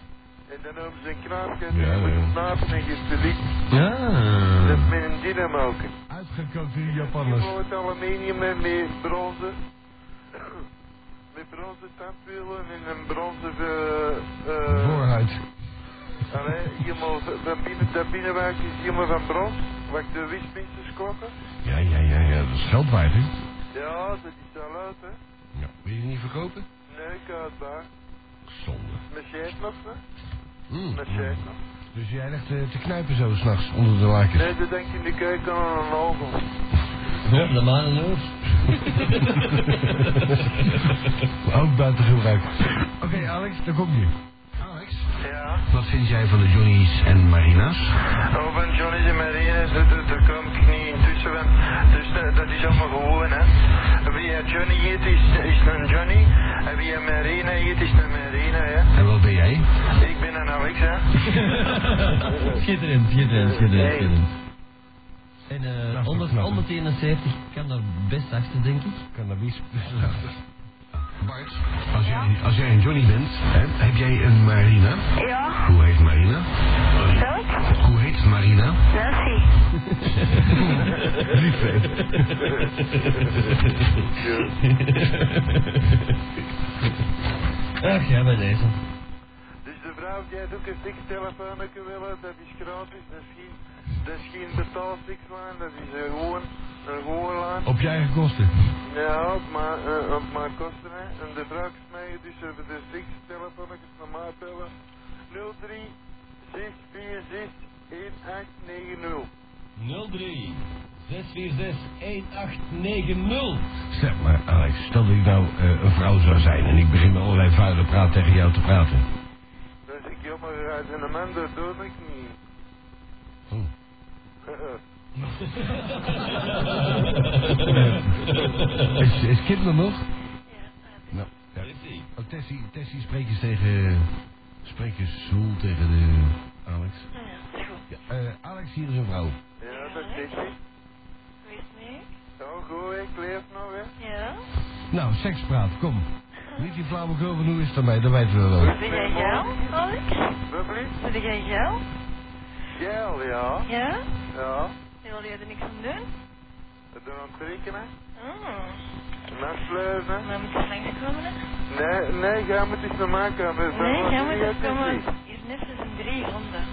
Speaker 6: En dan hebben ze een knaapje, en
Speaker 3: Ja,
Speaker 6: dan moet
Speaker 3: ja.
Speaker 6: je knapen en je publiek. Dat
Speaker 1: Ja.
Speaker 6: met een dynamo. Je
Speaker 3: Uitgekookt in de Japanners.
Speaker 6: wordt aluminium en met bronzen. Met bronzen tandwielen en een bronzen... eh, eh,
Speaker 3: Vooruit.
Speaker 6: Allee, je moet van binnen, dat binnenwerk is helemaal van brons, waar ik de wispintjes koken.
Speaker 3: Ja, ja, ja, ja. Dat is geld waard, hè?
Speaker 6: Ja, dat is al uit, hè.
Speaker 3: Ja. Wil je die niet verkopen?
Speaker 6: Nee, kaartbaar.
Speaker 3: Zonde.
Speaker 6: Met scheetnaf, hè.
Speaker 3: Mm.
Speaker 6: Met scheetnaf.
Speaker 3: Dus jij legt eh, te knijpen zo s'nachts onder de lakens.
Speaker 6: Nee, dat denk je in de keuken aan een ogen.
Speaker 1: Op de maanenoog.
Speaker 3: Ook buiten gebruik. Oké, Alex, daar kom je. Alex?
Speaker 6: Ja.
Speaker 3: Wat vind jij van de Johnny's en Marina's?
Speaker 6: Oh, van Johnny de Marines, daar, daar, daar kom ik niet intussen van. Dus dat, dat is allemaal gewoon, hè. Wie een Johnny heet, is, is een Johnny. En wie een Marina heet, is een Marina, hè.
Speaker 3: En wat ben jij?
Speaker 6: Ik ben een Alex, hè.
Speaker 1: Schitterend, schitterend, schitterend,
Speaker 6: Hey.
Speaker 1: schitterend. En eh
Speaker 3: is wel
Speaker 1: 100
Speaker 3: knap, hè?
Speaker 1: 171 kan daar best achter, denk ik.
Speaker 3: Cannabis. Bart, als jij, als jij een Johnny bent, hè, heb jij een Marina?
Speaker 4: Ja,
Speaker 3: Hoe heet Marina?
Speaker 4: welk?
Speaker 3: Hoe heet Marina?
Speaker 4: Nancy.
Speaker 3: Lief, hè?
Speaker 1: Ach ja, bij deze.
Speaker 6: Dus de vrouw die doet een sekstelefoonnetje willen, dat is gratis, dat is geen, dat is geen betaalstikslijn, dat is eh, gewoon een gewone lijn.
Speaker 3: Op je eigen kosten.
Speaker 6: Ja, op mijn, eh, op mijn kosten, hè. En de vrouw is mij dus over de sekstelefoonnetjes naar mij bellen. 03 646 1890.
Speaker 1: 03 646 1890.
Speaker 3: Zeg maar, Alex, stel dat ik nou eh, een vrouw zou zijn en ik begin met allerlei vuile praat tegen jou te praten.
Speaker 6: Dat is ik jammer eruit en een man, dat doe ik niet. Eh,
Speaker 3: Oh. Is, is Kip er nog?
Speaker 4: eh,
Speaker 3: Nou, ja. Oh, Tessie, Tessie, spreek eens tegen. Spreek eens zoel tegen de. Alex.
Speaker 4: Nou ja, dat is goed.
Speaker 3: Ja, eh, Alex, hier is een vrouw.
Speaker 6: Ja, dat is ik.
Speaker 4: Wie is het mee?
Speaker 6: Nou goed, ik leef nog, hè.
Speaker 4: Ja.
Speaker 3: Nou, sekspraat, kom. Niet die flauwekul van hoe is het ermee, dat weten we wel.
Speaker 4: Ben jij geil, Alex?
Speaker 6: Wat blieft?
Speaker 4: Ben jij geil?
Speaker 6: Gel, ja.
Speaker 4: Ja?
Speaker 6: Ja.
Speaker 4: En wil jij er niks aan doen?
Speaker 6: Dat doen we ontbreken, hè.
Speaker 4: Oh.
Speaker 6: Nasleuven.
Speaker 4: Maar moet je langskomen, hè?
Speaker 6: Nee, nee, jij moet iets naar mij komen.
Speaker 4: Nee, jij moet
Speaker 6: het
Speaker 4: eens komen. Hier is net een drie ronden.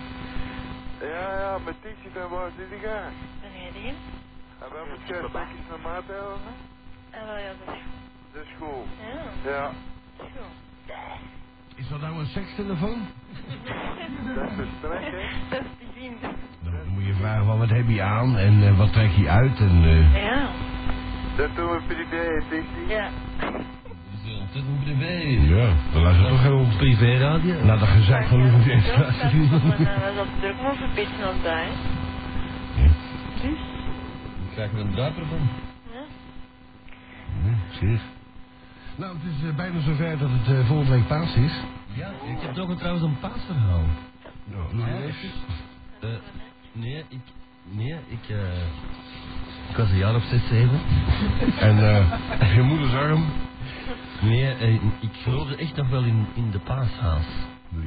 Speaker 6: Ja, ja, met Tixi, dan waar zit ik aan?
Speaker 4: Beneden.
Speaker 6: En dan moet jij ook iets naar mij helpen.
Speaker 4: En wel, ja, dat is goed.
Speaker 6: Dat is Dus goed.
Speaker 4: Ja,
Speaker 6: Ja,
Speaker 4: dat is goed.
Speaker 3: Is dat nou een sekstelefoon?
Speaker 6: dat is de strek, hè.
Speaker 4: Dat is te zien.
Speaker 3: Nou, Dan moet je vragen van wat heb je aan en eh, wat trek je uit en. eh,
Speaker 4: Ja.
Speaker 6: Dat doen we privé, Tixi.
Speaker 4: Ja.
Speaker 1: Zo, Tot een privé.
Speaker 3: ja, dan laat het toch heel
Speaker 1: Privé radio.
Speaker 3: Naar de gezeik van
Speaker 4: Ja,
Speaker 3: Loeven
Speaker 4: dat is ook wel
Speaker 3: Deenstra.
Speaker 4: fijn,
Speaker 1: eh,
Speaker 4: maar Dat is ook maar verbinden op daar. Dus,
Speaker 1: Ik krijg er een druiper van.
Speaker 4: ja.
Speaker 3: Zeg. Nou, het is eh, bijna zover dat het eh, volgende week paas is.
Speaker 1: Ja, ik heb toch een, trouwens een paasverhaal.
Speaker 3: Nou,
Speaker 1: Ja, dat is- Eh, nee, ik... Nee, ik... eh, ik was een jaar of zes, zeven.
Speaker 3: En eh, je moeders arm.
Speaker 1: Nee, eh, ik geloofde echt nog wel in, in de paashaas.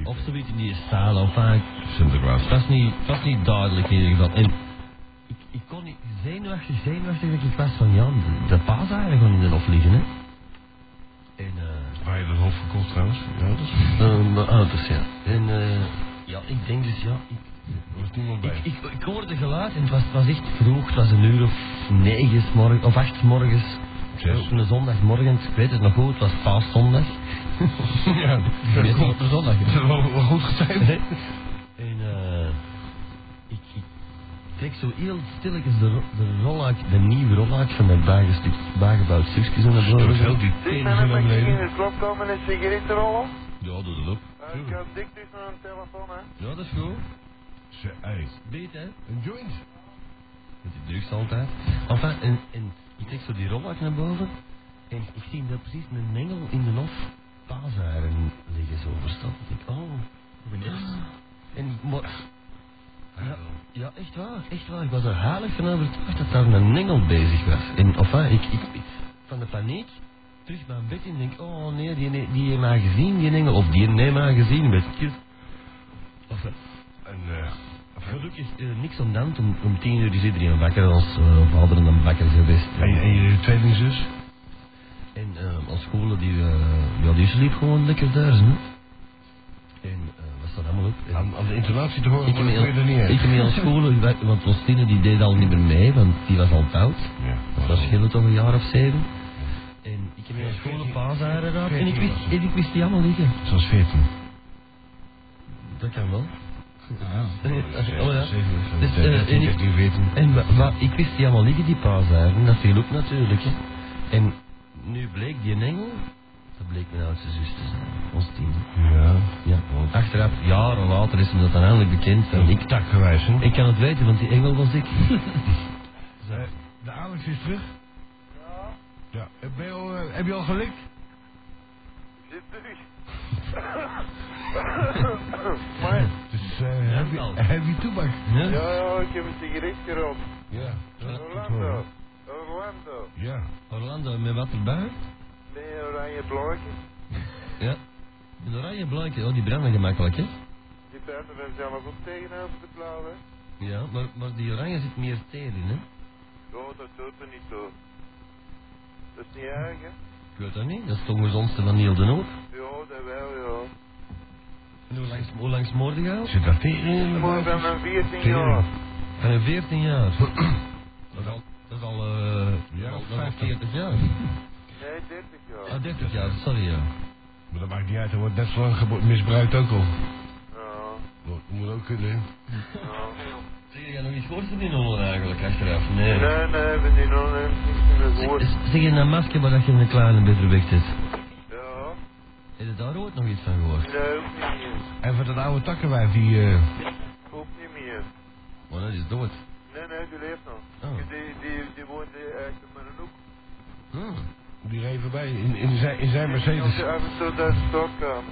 Speaker 1: Of zoiets in die staal, of vaak.
Speaker 3: Sinterklaas.
Speaker 1: Het was niet, het was niet duidelijk in ieder geval. En ik, ik kon niet zenuwachtig, zenuwachtig dat ik was van Jan, de paas eigenlijk gewoon in de lof liggen, hè. En eh...
Speaker 3: Waar je dat hof verkocht trouwens? Ja, dat is...
Speaker 1: eh, mijn auto's, ja. En eh... ja, ik denk dus, ja, ik,
Speaker 3: Er was niemand bij.
Speaker 1: Ik, ik, ik hoorde geluid en het was, het was echt vroeg, het was een uur of negen 's morgen, of acht 's morgens.
Speaker 3: Zes.
Speaker 1: Op een zondagmorgen, ik weet het nog goed, het was paaszondag.
Speaker 3: Ja,
Speaker 1: Ik weet
Speaker 3: dat
Speaker 1: nog op de zondag. hè.
Speaker 3: is wel, wel goed getimed.
Speaker 1: En eh, ik, ik trek zo heel stilletjes de, ro- de rolluik, de nieuwe rolluik van dat bijgestuurd, bijgebouwd stukjes en dat
Speaker 3: Door heel die
Speaker 6: Zeg,
Speaker 3: tenen
Speaker 6: dan
Speaker 3: van
Speaker 6: mag
Speaker 3: naar
Speaker 6: ik in
Speaker 3: beneden.
Speaker 6: het klop komen en een sigaret rollen.
Speaker 3: Ja, doe dat op.
Speaker 6: Eh, Ik ga dik dus naar een telefoon, hè.
Speaker 1: Ja, dat is goed.
Speaker 3: Ze, ei.
Speaker 1: Beet, hè?
Speaker 3: Een joint?
Speaker 1: Met die drugs altijd. Enfin, en, en ik trek zo die rolwak naar boven. En ik zie daar precies een mengel in de hof paaseieren liggen zo verstopt. Ik denk, oh. Ah.
Speaker 7: Benieuwd.
Speaker 1: En, maar,
Speaker 3: Ah.
Speaker 1: ja, ja, echt waar, echt waar. Ik was er heilig van overtuigd dat daar een engel bezig was. En, enfin, ik, ik, ik- van de paniek, terug naar bed in en denk, oh nee, die, die, die heeft mij gezien, die engel. Of die heeft mij gezien, weet je. Enfin,
Speaker 3: En, eh,
Speaker 1: gelukkig eh, niks aan de hand. Om, om tien uur is iedereen wakker als uh, vader en dan bakker geweest.
Speaker 3: en, en je tweelingzus?
Speaker 1: En ehm als scholen die, eh, ja, die sliep gewoon lekker daar, hè. En eh, was dat allemaal ook. En
Speaker 3: Aan, aan de intonatie te horen,
Speaker 1: ik heb
Speaker 3: maar
Speaker 1: me
Speaker 3: ik weet het niet
Speaker 1: heel- Oh, ik
Speaker 3: uit.
Speaker 1: heb me heel scholen, gewerkt, want Rostine die deed al niet meer mee, want die was al oud.
Speaker 3: Ja,
Speaker 1: Dat scheelde toch een jaar of zeven. En Oh. ik heb me heel scholen paasaren gehad en ik wist, en ik wist die allemaal liggen.
Speaker 3: Ze was 14.
Speaker 1: Dat kan wel.
Speaker 7: Ja.
Speaker 1: Oh ja. Dus, eh, en
Speaker 3: 13,
Speaker 1: ik-
Speaker 3: 14, 14.
Speaker 1: En wa, wa- ik wist die allemaal liggen, die paasaren. Dat viel ook natuurlijk, hè. En nu bleek die engel, dat bleek mijn oudste zus te zijn, ons tiende.
Speaker 3: Ja.
Speaker 1: Ja, want achteraf, jaren later is hem dat dan eindelijk bekend. En ik,
Speaker 3: Takgewijs, hè?
Speaker 1: ik kan het weten, want die engel was ik.
Speaker 3: Eh, De Alex is terug.
Speaker 6: Ja,
Speaker 3: Ja. Heb je al, eh, heb je al gelikt?
Speaker 6: zit terug.
Speaker 3: Dus eh, heb,
Speaker 1: al.
Speaker 3: je, heb je toebak?
Speaker 1: Ja?
Speaker 6: Ja, ja, ik heb een sigaret gerookt.
Speaker 3: Ja.
Speaker 6: Orlando. Orlando.
Speaker 3: Ja.
Speaker 1: Orlando, met wat erbij?
Speaker 6: Ben je oranje blokje?
Speaker 1: Ja. Een oranje blankje, oh die branden gemakkelijk hè?
Speaker 6: Die buiten ben zelf ook tegenover de blauwe.
Speaker 1: Ja, maar, maar die oranje zit meer teer in hè?
Speaker 6: Oh, dat doet er niet toe. Dat is niet erg, hè?
Speaker 1: Ik weet dat niet, dat is toch het ongezondste van heel de Noord.
Speaker 6: Ja, dat wel, ja.
Speaker 1: En hoe lang, hoe lang smoorde je al?
Speaker 3: Zit dat tegen in de
Speaker 6: Maar
Speaker 3: blaadjes?
Speaker 6: dan ben 14 jaar.
Speaker 1: Van een 14 Eh, jaar. dat is al, dat is al, eh,
Speaker 3: Ja,
Speaker 1: dat is al
Speaker 3: 50.
Speaker 1: 40 jaar.
Speaker 6: Nee, 30 jaar.
Speaker 1: Ah, 30 jaar, sorry ja.
Speaker 3: Maar dat maakt niet uit, er wordt net zo lang gebo- misbruikt ook al.
Speaker 6: Ja,
Speaker 3: Dat moet ook kunnen, hè?
Speaker 6: ja.
Speaker 1: Zeg, jij nog iets gehoord van die nonnen eigenlijk achteraf? Nee.
Speaker 6: Nee, nee, ben die nog niet meer gehoord.
Speaker 1: Zeg, zeg je dat masker waar dat je een kleine beter weg zit?
Speaker 6: Ja,
Speaker 1: Heb je daar ooit nog iets van gehoord?
Speaker 6: nee, ook niet meer.
Speaker 3: En van dat oude takkenwijf die... eh,
Speaker 6: Ook niet meer.
Speaker 1: Oh, dat is dood.
Speaker 6: Nee, nee, die leeft nog.
Speaker 1: Oh.
Speaker 6: Die, die, die woont echt in mijn hoek.
Speaker 1: Hmm.
Speaker 3: die reed voorbij in, in, zijn, in zijn Mercedes.
Speaker 6: Ik heb zo daar stokken.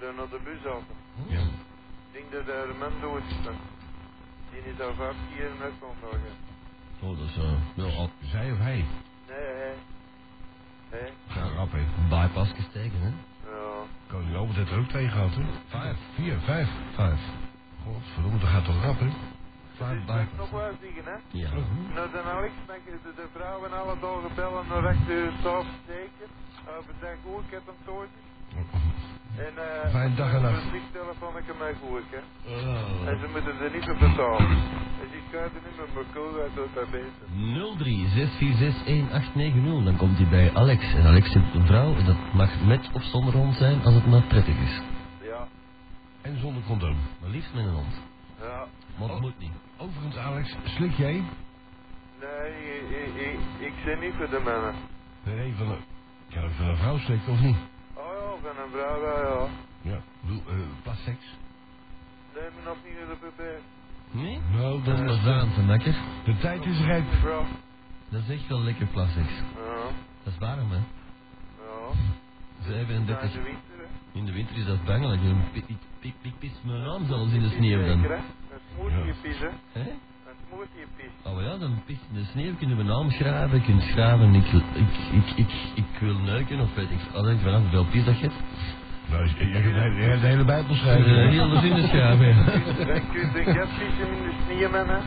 Speaker 6: Dan naar de bus af.
Speaker 3: Ja.
Speaker 6: Ik denk dat de man dood is dan. Die is al vijf keer met kon vragen.
Speaker 1: Oh, dat is eh, wel al
Speaker 3: Zij of hij?
Speaker 6: Nee, hè. Hé?
Speaker 3: Ja, rap, hè.
Speaker 1: bypass gestegen, hè?
Speaker 6: Ja.
Speaker 3: Koning Albert heeft er ook twee gehad, hè?
Speaker 1: Vijf.
Speaker 3: Vier, vijf.
Speaker 1: Vijf.
Speaker 3: Godverdomme, dat gaat toch rap, hè? Ah,
Speaker 6: Dus
Speaker 1: Vijf
Speaker 6: ik mag nog
Speaker 1: bypass.
Speaker 6: wel zeggen, hè.
Speaker 1: Ja.
Speaker 6: Nou, dan Alex, mag je de, de vrouwen alle dagen bellen naar achter de staf Eh, zeker. Overdag ook, ik heb hem toortjes. En eh...
Speaker 3: Fijne dag en nacht.
Speaker 6: Een vliegtelefoon heb ik hem ook, hè.
Speaker 1: Oh.
Speaker 6: En ze moeten er niet voor betalen. En die schuiven niet meer mijn kool uit tot dat beter.
Speaker 1: 03-646-1890, dan komt hij bij Alex. En Alex heeft een vrouw, en dat mag met of zonder hond zijn, als het maar prettig is.
Speaker 6: Ja,
Speaker 3: En zonder condoom.
Speaker 1: Maar liefst met een hond.
Speaker 6: ja.
Speaker 1: Maar dat
Speaker 3: Oh.
Speaker 1: moet niet.
Speaker 3: Overigens, Alex, slik jij?
Speaker 6: Nee, ik, ik, ik, ik zit niet voor de mannen.
Speaker 3: Nee, van een... Kan ik van een vrouw slikken of niet?
Speaker 6: Oh ja, van een vrouw, ja, ja.
Speaker 3: Ja. Ik bedoel, eh, plasseks.
Speaker 6: Neem me nog niet in de pp.
Speaker 1: Nee?
Speaker 3: Nou,
Speaker 1: Eh, Dat is
Speaker 3: dan,
Speaker 1: maar zaan te lekker.
Speaker 3: de tijd is rijp.
Speaker 6: Vrouw.
Speaker 1: Dat is echt wel lekker plastics.
Speaker 6: Ja,
Speaker 1: Dat is warm, hè?
Speaker 6: ja. Ja,
Speaker 1: 37.
Speaker 6: de winter, hè.
Speaker 1: In de winter is dat bangelijk. hè. Ik, ik, ik, ik pis mijn naam zelfs in de sneeuw dan.
Speaker 6: Zeker, hè. Dat moet je pissen.
Speaker 1: Hè?
Speaker 6: Dat moet je pissen.
Speaker 1: Oh ja, dan pis in de sneeuw kunnen we naam schrijven, je kunt schrijven, ik, ik, ik, ik, ik wil neuken of weet ik alleen vanaf hoeveel pis dat je hebt.
Speaker 3: Nou, je, je, kunt de hele- je hebt de hele Bijbel
Speaker 1: En,
Speaker 3: schrijven.
Speaker 1: eh, heel de zinnen schrijven. ja.
Speaker 6: Dan kun je de gat pissen in de sneeuw, man, hè.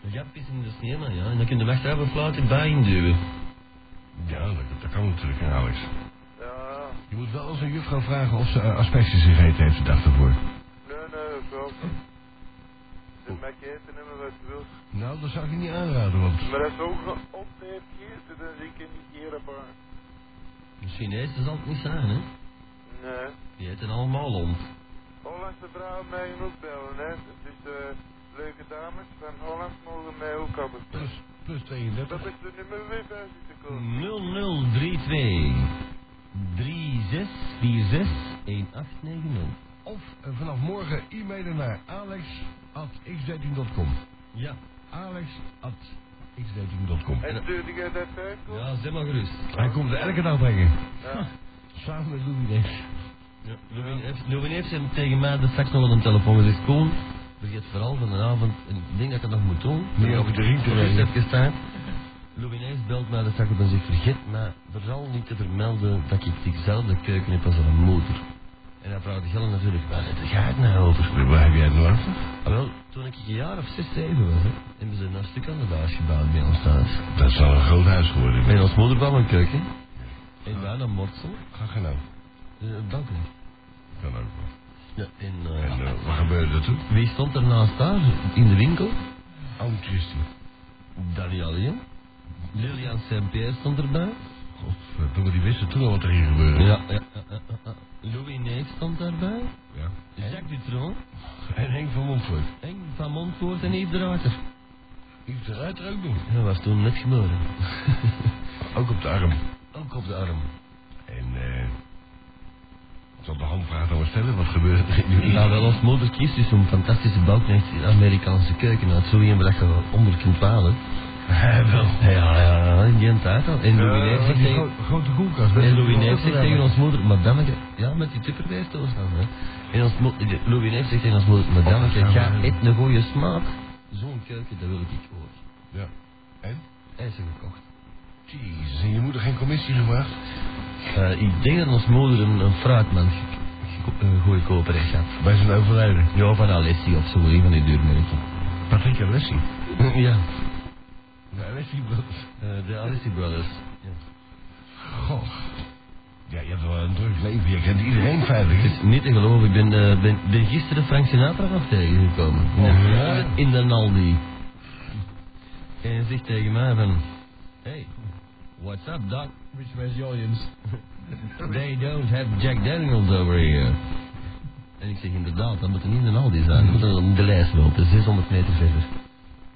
Speaker 1: Ja, pis in de sneeuw, man, ja. En dan kun je de wegdrijven fluiten bij induwen.
Speaker 3: Ja, dat, dat kan natuurlijk, hè, Alex.
Speaker 6: Ja,
Speaker 3: Je moet wel eens een juffrouw vragen of ze eh, asbestjes gegeten heeft de dag ervoor.
Speaker 6: nee, nee, vrouw. Dan mag je eten en wat je wilt.
Speaker 3: Nou, dat zou ik je niet aanraden, want...
Speaker 6: Maar dat is ook op de eerste, dan zie ik je niet hier op haar.
Speaker 1: Een Chinees zal het niet zijn, hè.
Speaker 6: Nee.
Speaker 1: Die eten allemaal hond.
Speaker 6: Hollandse vrouwen mij ook bellen, hè. Dus eh, leuke dames van Holland mogen mij ook hebben.
Speaker 3: Plus, plus
Speaker 6: Dat
Speaker 3: 32.
Speaker 6: is de nummer weer bij zitten
Speaker 1: Mm.
Speaker 6: komen.
Speaker 1: 0032 3646 1890.
Speaker 3: Of eh, vanaf morgen e-mailen naar alex.x13.com.
Speaker 1: Ja.
Speaker 3: Alex at xdating.com.
Speaker 6: En stuurde je dat uit?
Speaker 1: Ja, zeg maar gerust.
Speaker 3: Hij komt er elke dag brengen.
Speaker 6: Ja.
Speaker 3: Samen met Louis Neef.
Speaker 1: Ja, Louis heeft- Louis heeft hem tegen mij de fax nog wel een telefoon gezegd. Koen, vergeet vooral vanavond, en ik denk dat ik het nog moet doen.
Speaker 3: Nee, over de ring te
Speaker 1: Gerust
Speaker 3: rijden.
Speaker 1: heeft gestaan. Louis Neef belt mij de fax op en zegt, vergeet mij vooral niet te vermelden dat ik diezelfde keuken heb als haar moeder. En hij vraagt Gelle natuurlijk, waar gaat het nou over?
Speaker 3: Waar heb jij het nou over?
Speaker 1: Ah, wel, toen ik een jaar of zes, zeven was, hè, hebben ze een stuk aan de baas gebouwd bij ons thuis.
Speaker 3: Dat zal een groot huis geworden.
Speaker 1: En ons moeder kwam een keuken. En wij een mortsel.
Speaker 3: Ga gaan nou.
Speaker 1: eh, Op dat moment.
Speaker 3: Kan ook.
Speaker 1: Ja, en
Speaker 3: En
Speaker 1: eh,
Speaker 3: eh, wat gebeurde er toen?
Speaker 1: wie stond er naast daar in de winkel?
Speaker 3: Oom Christie.
Speaker 1: Danny Alien. Lilian Saint-Pierre stond erbij.
Speaker 3: Godverdomme, die wisten toen al wat er hier gebeurde.
Speaker 1: Ja, ja. ja, ja, ja. Louis Neef stond daarbij.
Speaker 3: Ja.
Speaker 1: Jacques Dutron.
Speaker 3: En Henk van Montfort.
Speaker 1: Henk van Montvoort en Yves de Ruiter.
Speaker 3: Iets eruit er ook nog.
Speaker 1: Dat was toen net geboren.
Speaker 3: Ook op de arm.
Speaker 1: Ook op de arm.
Speaker 3: En eh... Ik zal de handvraag dan maar stellen, wat gebeurde er in
Speaker 1: Ja, wel als moeder kiest is zo'n fantastische bouwknecht in de Amerikaanse keuken uit zo iemand dat je wel eh, onder kunt halen.
Speaker 3: Ja, wel. Eh,
Speaker 1: Ja, ja, ja, in die tijd al. En Louis Neef zegt tegen-
Speaker 3: grote koelkast.
Speaker 1: en Louis Neef zegt tegen ons moeder, madameke, ja, met die tupperwijs aan hè. En ons mo- de- Louis Neef zegt tegen ons moeder, madameke,
Speaker 3: Oh,
Speaker 1: ga
Speaker 3: ja.
Speaker 1: eet een goede smaak. Zo'n keuken, dat wil ik ook.
Speaker 3: Ja. En?
Speaker 1: Hij is er gekocht.
Speaker 3: Jezus, en je moeder geen commissie gemaakt?
Speaker 1: Eh, ik denk dat ons moeder een, een fruitman ge- ge- eh, goedkoper heeft gehad.
Speaker 3: Bij zijn overlijden.
Speaker 1: Ja, van Alessi of zo, een van die duurmerken.
Speaker 3: Patrick Alessi.
Speaker 1: ja,
Speaker 3: Ja, Alessi, Nou, wat...
Speaker 1: eh, de Alessi Brothers. Ja.
Speaker 3: Goh. Ja, je hebt wel een druk leven. Je kent iedereen feitelijk.
Speaker 1: Het
Speaker 3: hè?
Speaker 1: is niet te geloven, ik ben, eh, ben, ben gisteren Frank Sinatra nog tegengekomen.
Speaker 3: Oh,
Speaker 1: In-
Speaker 3: ja?
Speaker 1: In de Naldi. En hij zegt tegen mij van... Hey, what's up, Doc? Which was Williams? They don't have Jack Daniels over here. En ik zeg inderdaad, dat moet niet in de Naldi zijn. Dat moet dan de lijst lopen, 600 meter verder.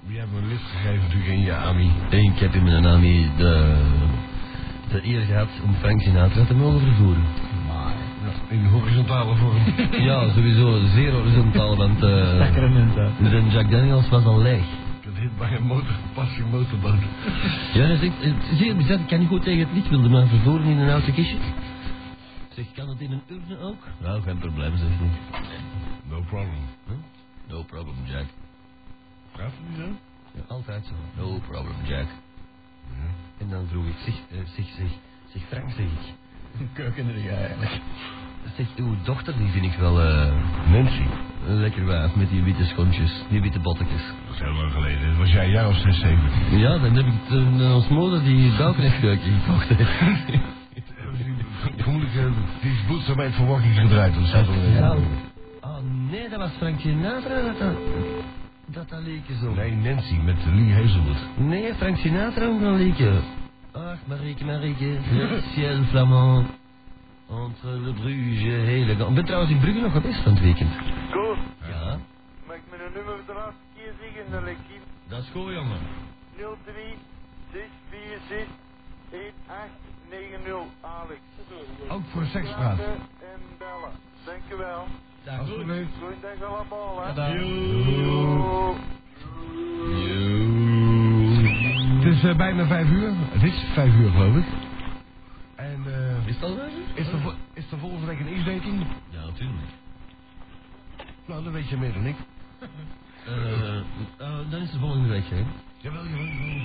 Speaker 3: Je hebt me een lift gegeven natuurlijk in je AMI.
Speaker 1: En ik heb in mijn AMI de, de eer gehad om Frank Sinatra te mogen vervoeren.
Speaker 3: Maar... In horizontale vorm.
Speaker 1: Ja, sowieso zeer horizontaal, want... eh de Jack Daniels was al leeg.
Speaker 3: Ik had hit bij een motor, passie motorboot.
Speaker 1: Ja, dat is echt het is zeer bizar. Ik kan niet goed tegen het licht. Wilde maar vervoeren in een auto kistje. Zeg, kan het in een urne ook? Nou, geen probleem, zeg niet.
Speaker 3: No problem.
Speaker 1: No problem, Jack.
Speaker 3: Praat het niet zo?
Speaker 1: Ja, altijd zo. No problem, Jack.
Speaker 3: Ja.
Speaker 1: En dan vroeg ik, zeg, eh, zeg, zeg, zeg Frank, zeg ik.
Speaker 3: Keukenrij eigenlijk.
Speaker 1: Zeg, uw dochter, die vind ik wel eh,
Speaker 3: Nancy.
Speaker 1: een lekker wijf met die witte schoentjes, die witte bottetjes.
Speaker 3: Dat is heel lang geleden. Dat was jij een jaar of 6, 7.
Speaker 1: Ja, dan heb ik toen eh, ons moeder die balknechtkeuken gekocht. heeft.
Speaker 3: Vermoedelijk eh, die is bloed aan mijn verwachting gedraaid. Dat staat er
Speaker 1: Ja. Oh nee, dat was Frank Sinatra dat dat, dat, dat leekje zo.
Speaker 3: Nee, Nancy met Lee Hazelwood.
Speaker 1: Nee, Frank Sinatra ook wel leekje. Ach, Marieke, Marieke, le ciel flamand. Entre le Bruges, elegant. Ik ben trouwens in Brugge nog geweest van het weekend.
Speaker 6: Goed.
Speaker 1: Ja.
Speaker 6: Mag ik mijn nummer de laatste keer zeggen? Dan leg ik
Speaker 1: Dat is goed, jongen.
Speaker 6: 03 646 1890 Alex.
Speaker 3: Ook voor sekspraat.
Speaker 6: En bellen. Dankjewel.
Speaker 1: Dat is goed.
Speaker 3: Alsjeblieft.
Speaker 6: Goeiedag allemaal, hè.
Speaker 3: eh, Het is eh, bijna vijf uur. Het is vijf uur, geloof ik. En eh,
Speaker 1: Is dat waar?
Speaker 3: is, er, vo- is er volgende week een X-dating?
Speaker 1: Ja, natuurlijk.
Speaker 3: Nou, dan weet je meer dan ik.
Speaker 1: Eh, eh, dan is de volgende week, hè.
Speaker 3: Jawel, jawel, jawel.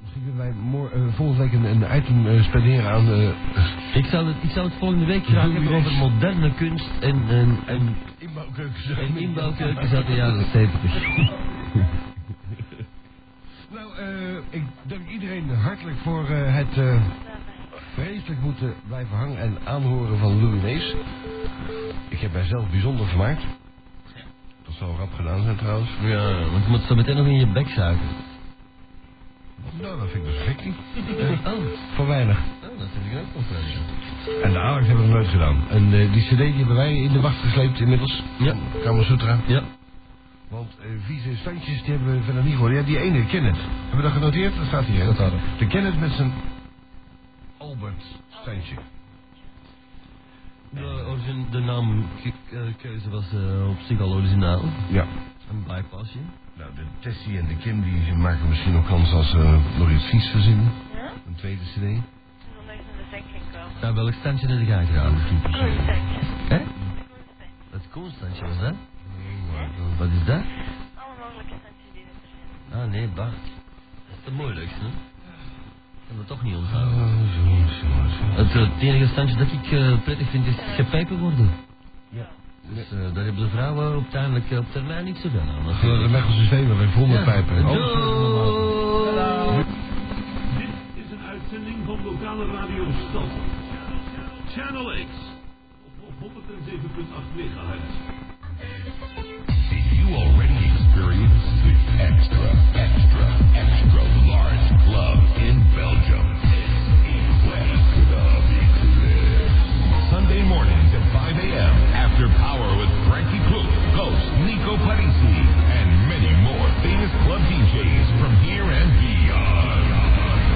Speaker 3: Misschien kunnen wij mor- eh, volgende week een, een item eh, spenderen aan... eh
Speaker 1: Ik zou het, ik zou het volgende week graag hebben over moderne kunst en, en, en,
Speaker 3: inbouwkeukens.
Speaker 1: en inbouwkeukens uit de jaren 70.
Speaker 3: Nou, eh, ik dank iedereen hartelijk voor eh, het eh, vreselijk moeten blijven hangen en aanhoren van Louis Nees. Ik heb mijzelf bijzonder vermaakt. Dat zal rap gedaan zijn trouwens.
Speaker 1: Ja, want je moet zo meteen nog in je bek zuigen.
Speaker 3: Nou, dat vind ik dus gek niet.
Speaker 1: Eh, oh,
Speaker 3: Voor weinig.
Speaker 1: oh, dat vind ik ook wel fijn.
Speaker 3: En de Alex hebben we nooit gedaan. En eh, die cd die hebben wij in de wacht gesleept inmiddels.
Speaker 1: Ja.
Speaker 3: Van Kama Sutra.
Speaker 1: Ja,
Speaker 3: Want eh, vieze standjes die hebben we verder niet gehoord. Ja, die ene, Kenneth. Hebben we dat genoteerd? Dat staat hier. hè?
Speaker 1: Dat hadden
Speaker 3: De Kenneth met zijn Albert standje.
Speaker 1: De, origin, de naamkeuze was eh, op zich al originaal.
Speaker 3: Ja.
Speaker 1: Een bypassje.
Speaker 3: Nou, de Tessie en de Kim die maken misschien nog kans als ze nog iets vies verzinnen.
Speaker 4: Ja? Dus
Speaker 3: Een tweede cd.
Speaker 4: Zondag in de denk ik wel.
Speaker 1: Naar welk standje heb jij gedaan?
Speaker 4: Oh, Groenstandje.
Speaker 1: Hè?
Speaker 4: Groenstandje.
Speaker 1: Dat koelstandje was dat?
Speaker 3: Nee,
Speaker 1: Wat is dat?
Speaker 4: Alle mogelijke standjes die er zijn.
Speaker 1: Ah nee, Bart. Dat is het moeilijkste. hè? Ik heb het toch niet
Speaker 3: Oh,
Speaker 1: onthouden.
Speaker 3: zo, zo, zo.
Speaker 1: Het, eh, het enige standje dat ik eh, prettig vind is gepijpen worden.
Speaker 3: Ja.
Speaker 1: Dus eh, daar hebben de vrouwen uiteindelijk eh, op termijn niks zo aan.
Speaker 3: Ach, ja, dan leggen ze steeds weer vol met pijpen.
Speaker 1: Ja.
Speaker 3: Oh,
Speaker 1: Doei.
Speaker 7: Dit is een uitzending van lokale radio Stad. Channel X. Op 107.8 megahertz.
Speaker 8: Did you already experience the extra, extra, extra large club in Belgium? West Club Eclipse. Sunday mornings at 5 a.m. after Power with Frankie Klug, Ghost, Nico Parisi, and many more famous club DJs from here and beyond.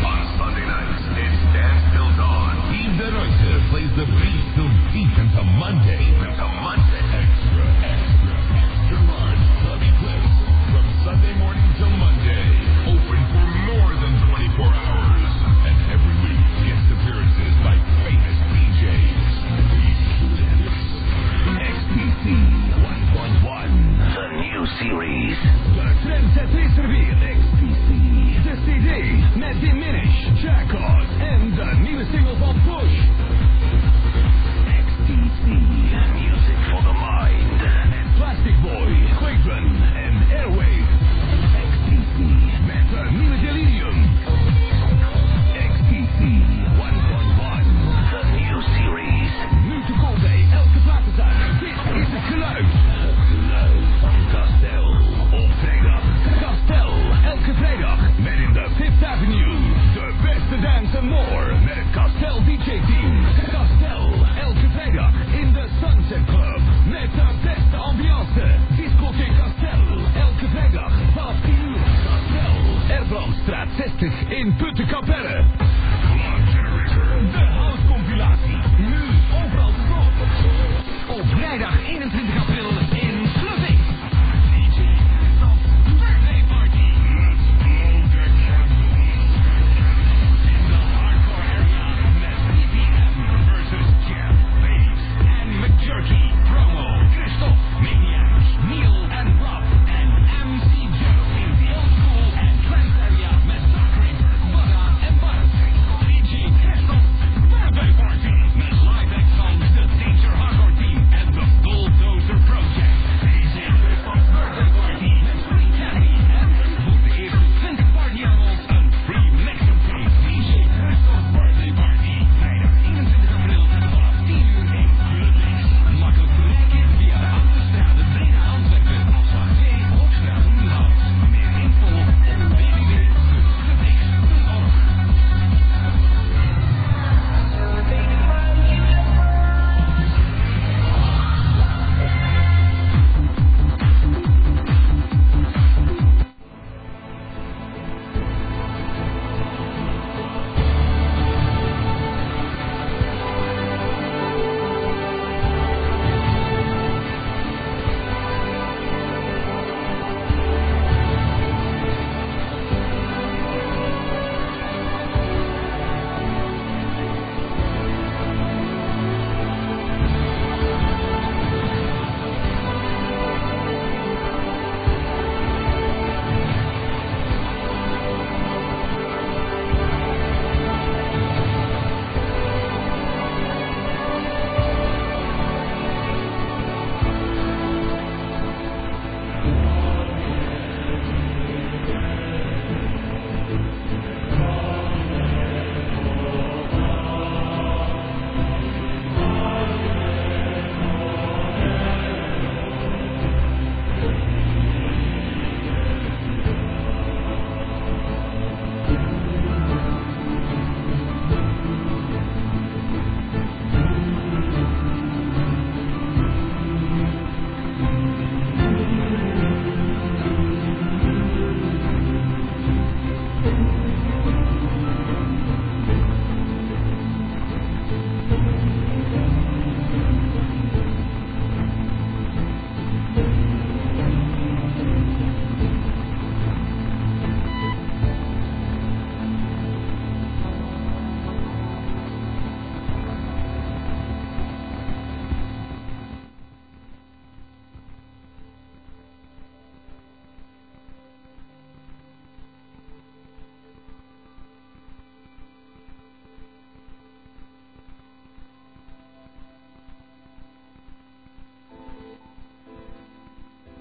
Speaker 8: On Sunday nights, it's Dance Till Dawn. Yves de Ruyter plays the beat till deep into Monday. Into Monday. Extra, extra, extra large club eclipse from Sunday morning till Monday. Open for more than 24 hours. And every week, guest appearances by famous DJs. XPC 1.1. The new series. De Trendsetters weer. XPC. De CD met Diminish, Jackass en de nieuwe single van Push. XTC. Music for the mind. Plastic Boy, Quick Run en Airwave. XTC met de nieuwe Delirium. XTC 1.1. The new series. Nu te koop bij elke platenzaak. Dit is het geluid. Geluid van Castel. Op vrijdag. Castel. Elke vrijdag. Met in de Fifth Avenue. De beste dance en more. Met Castel DJ Team. Castel. Elke vrijdag. In de Sunset Club. Met de beste ambiance. Discotheek Castel. Elke vrijdag. 12 uur. Castel. Erbrandstraat 60 in Puttenkapelle.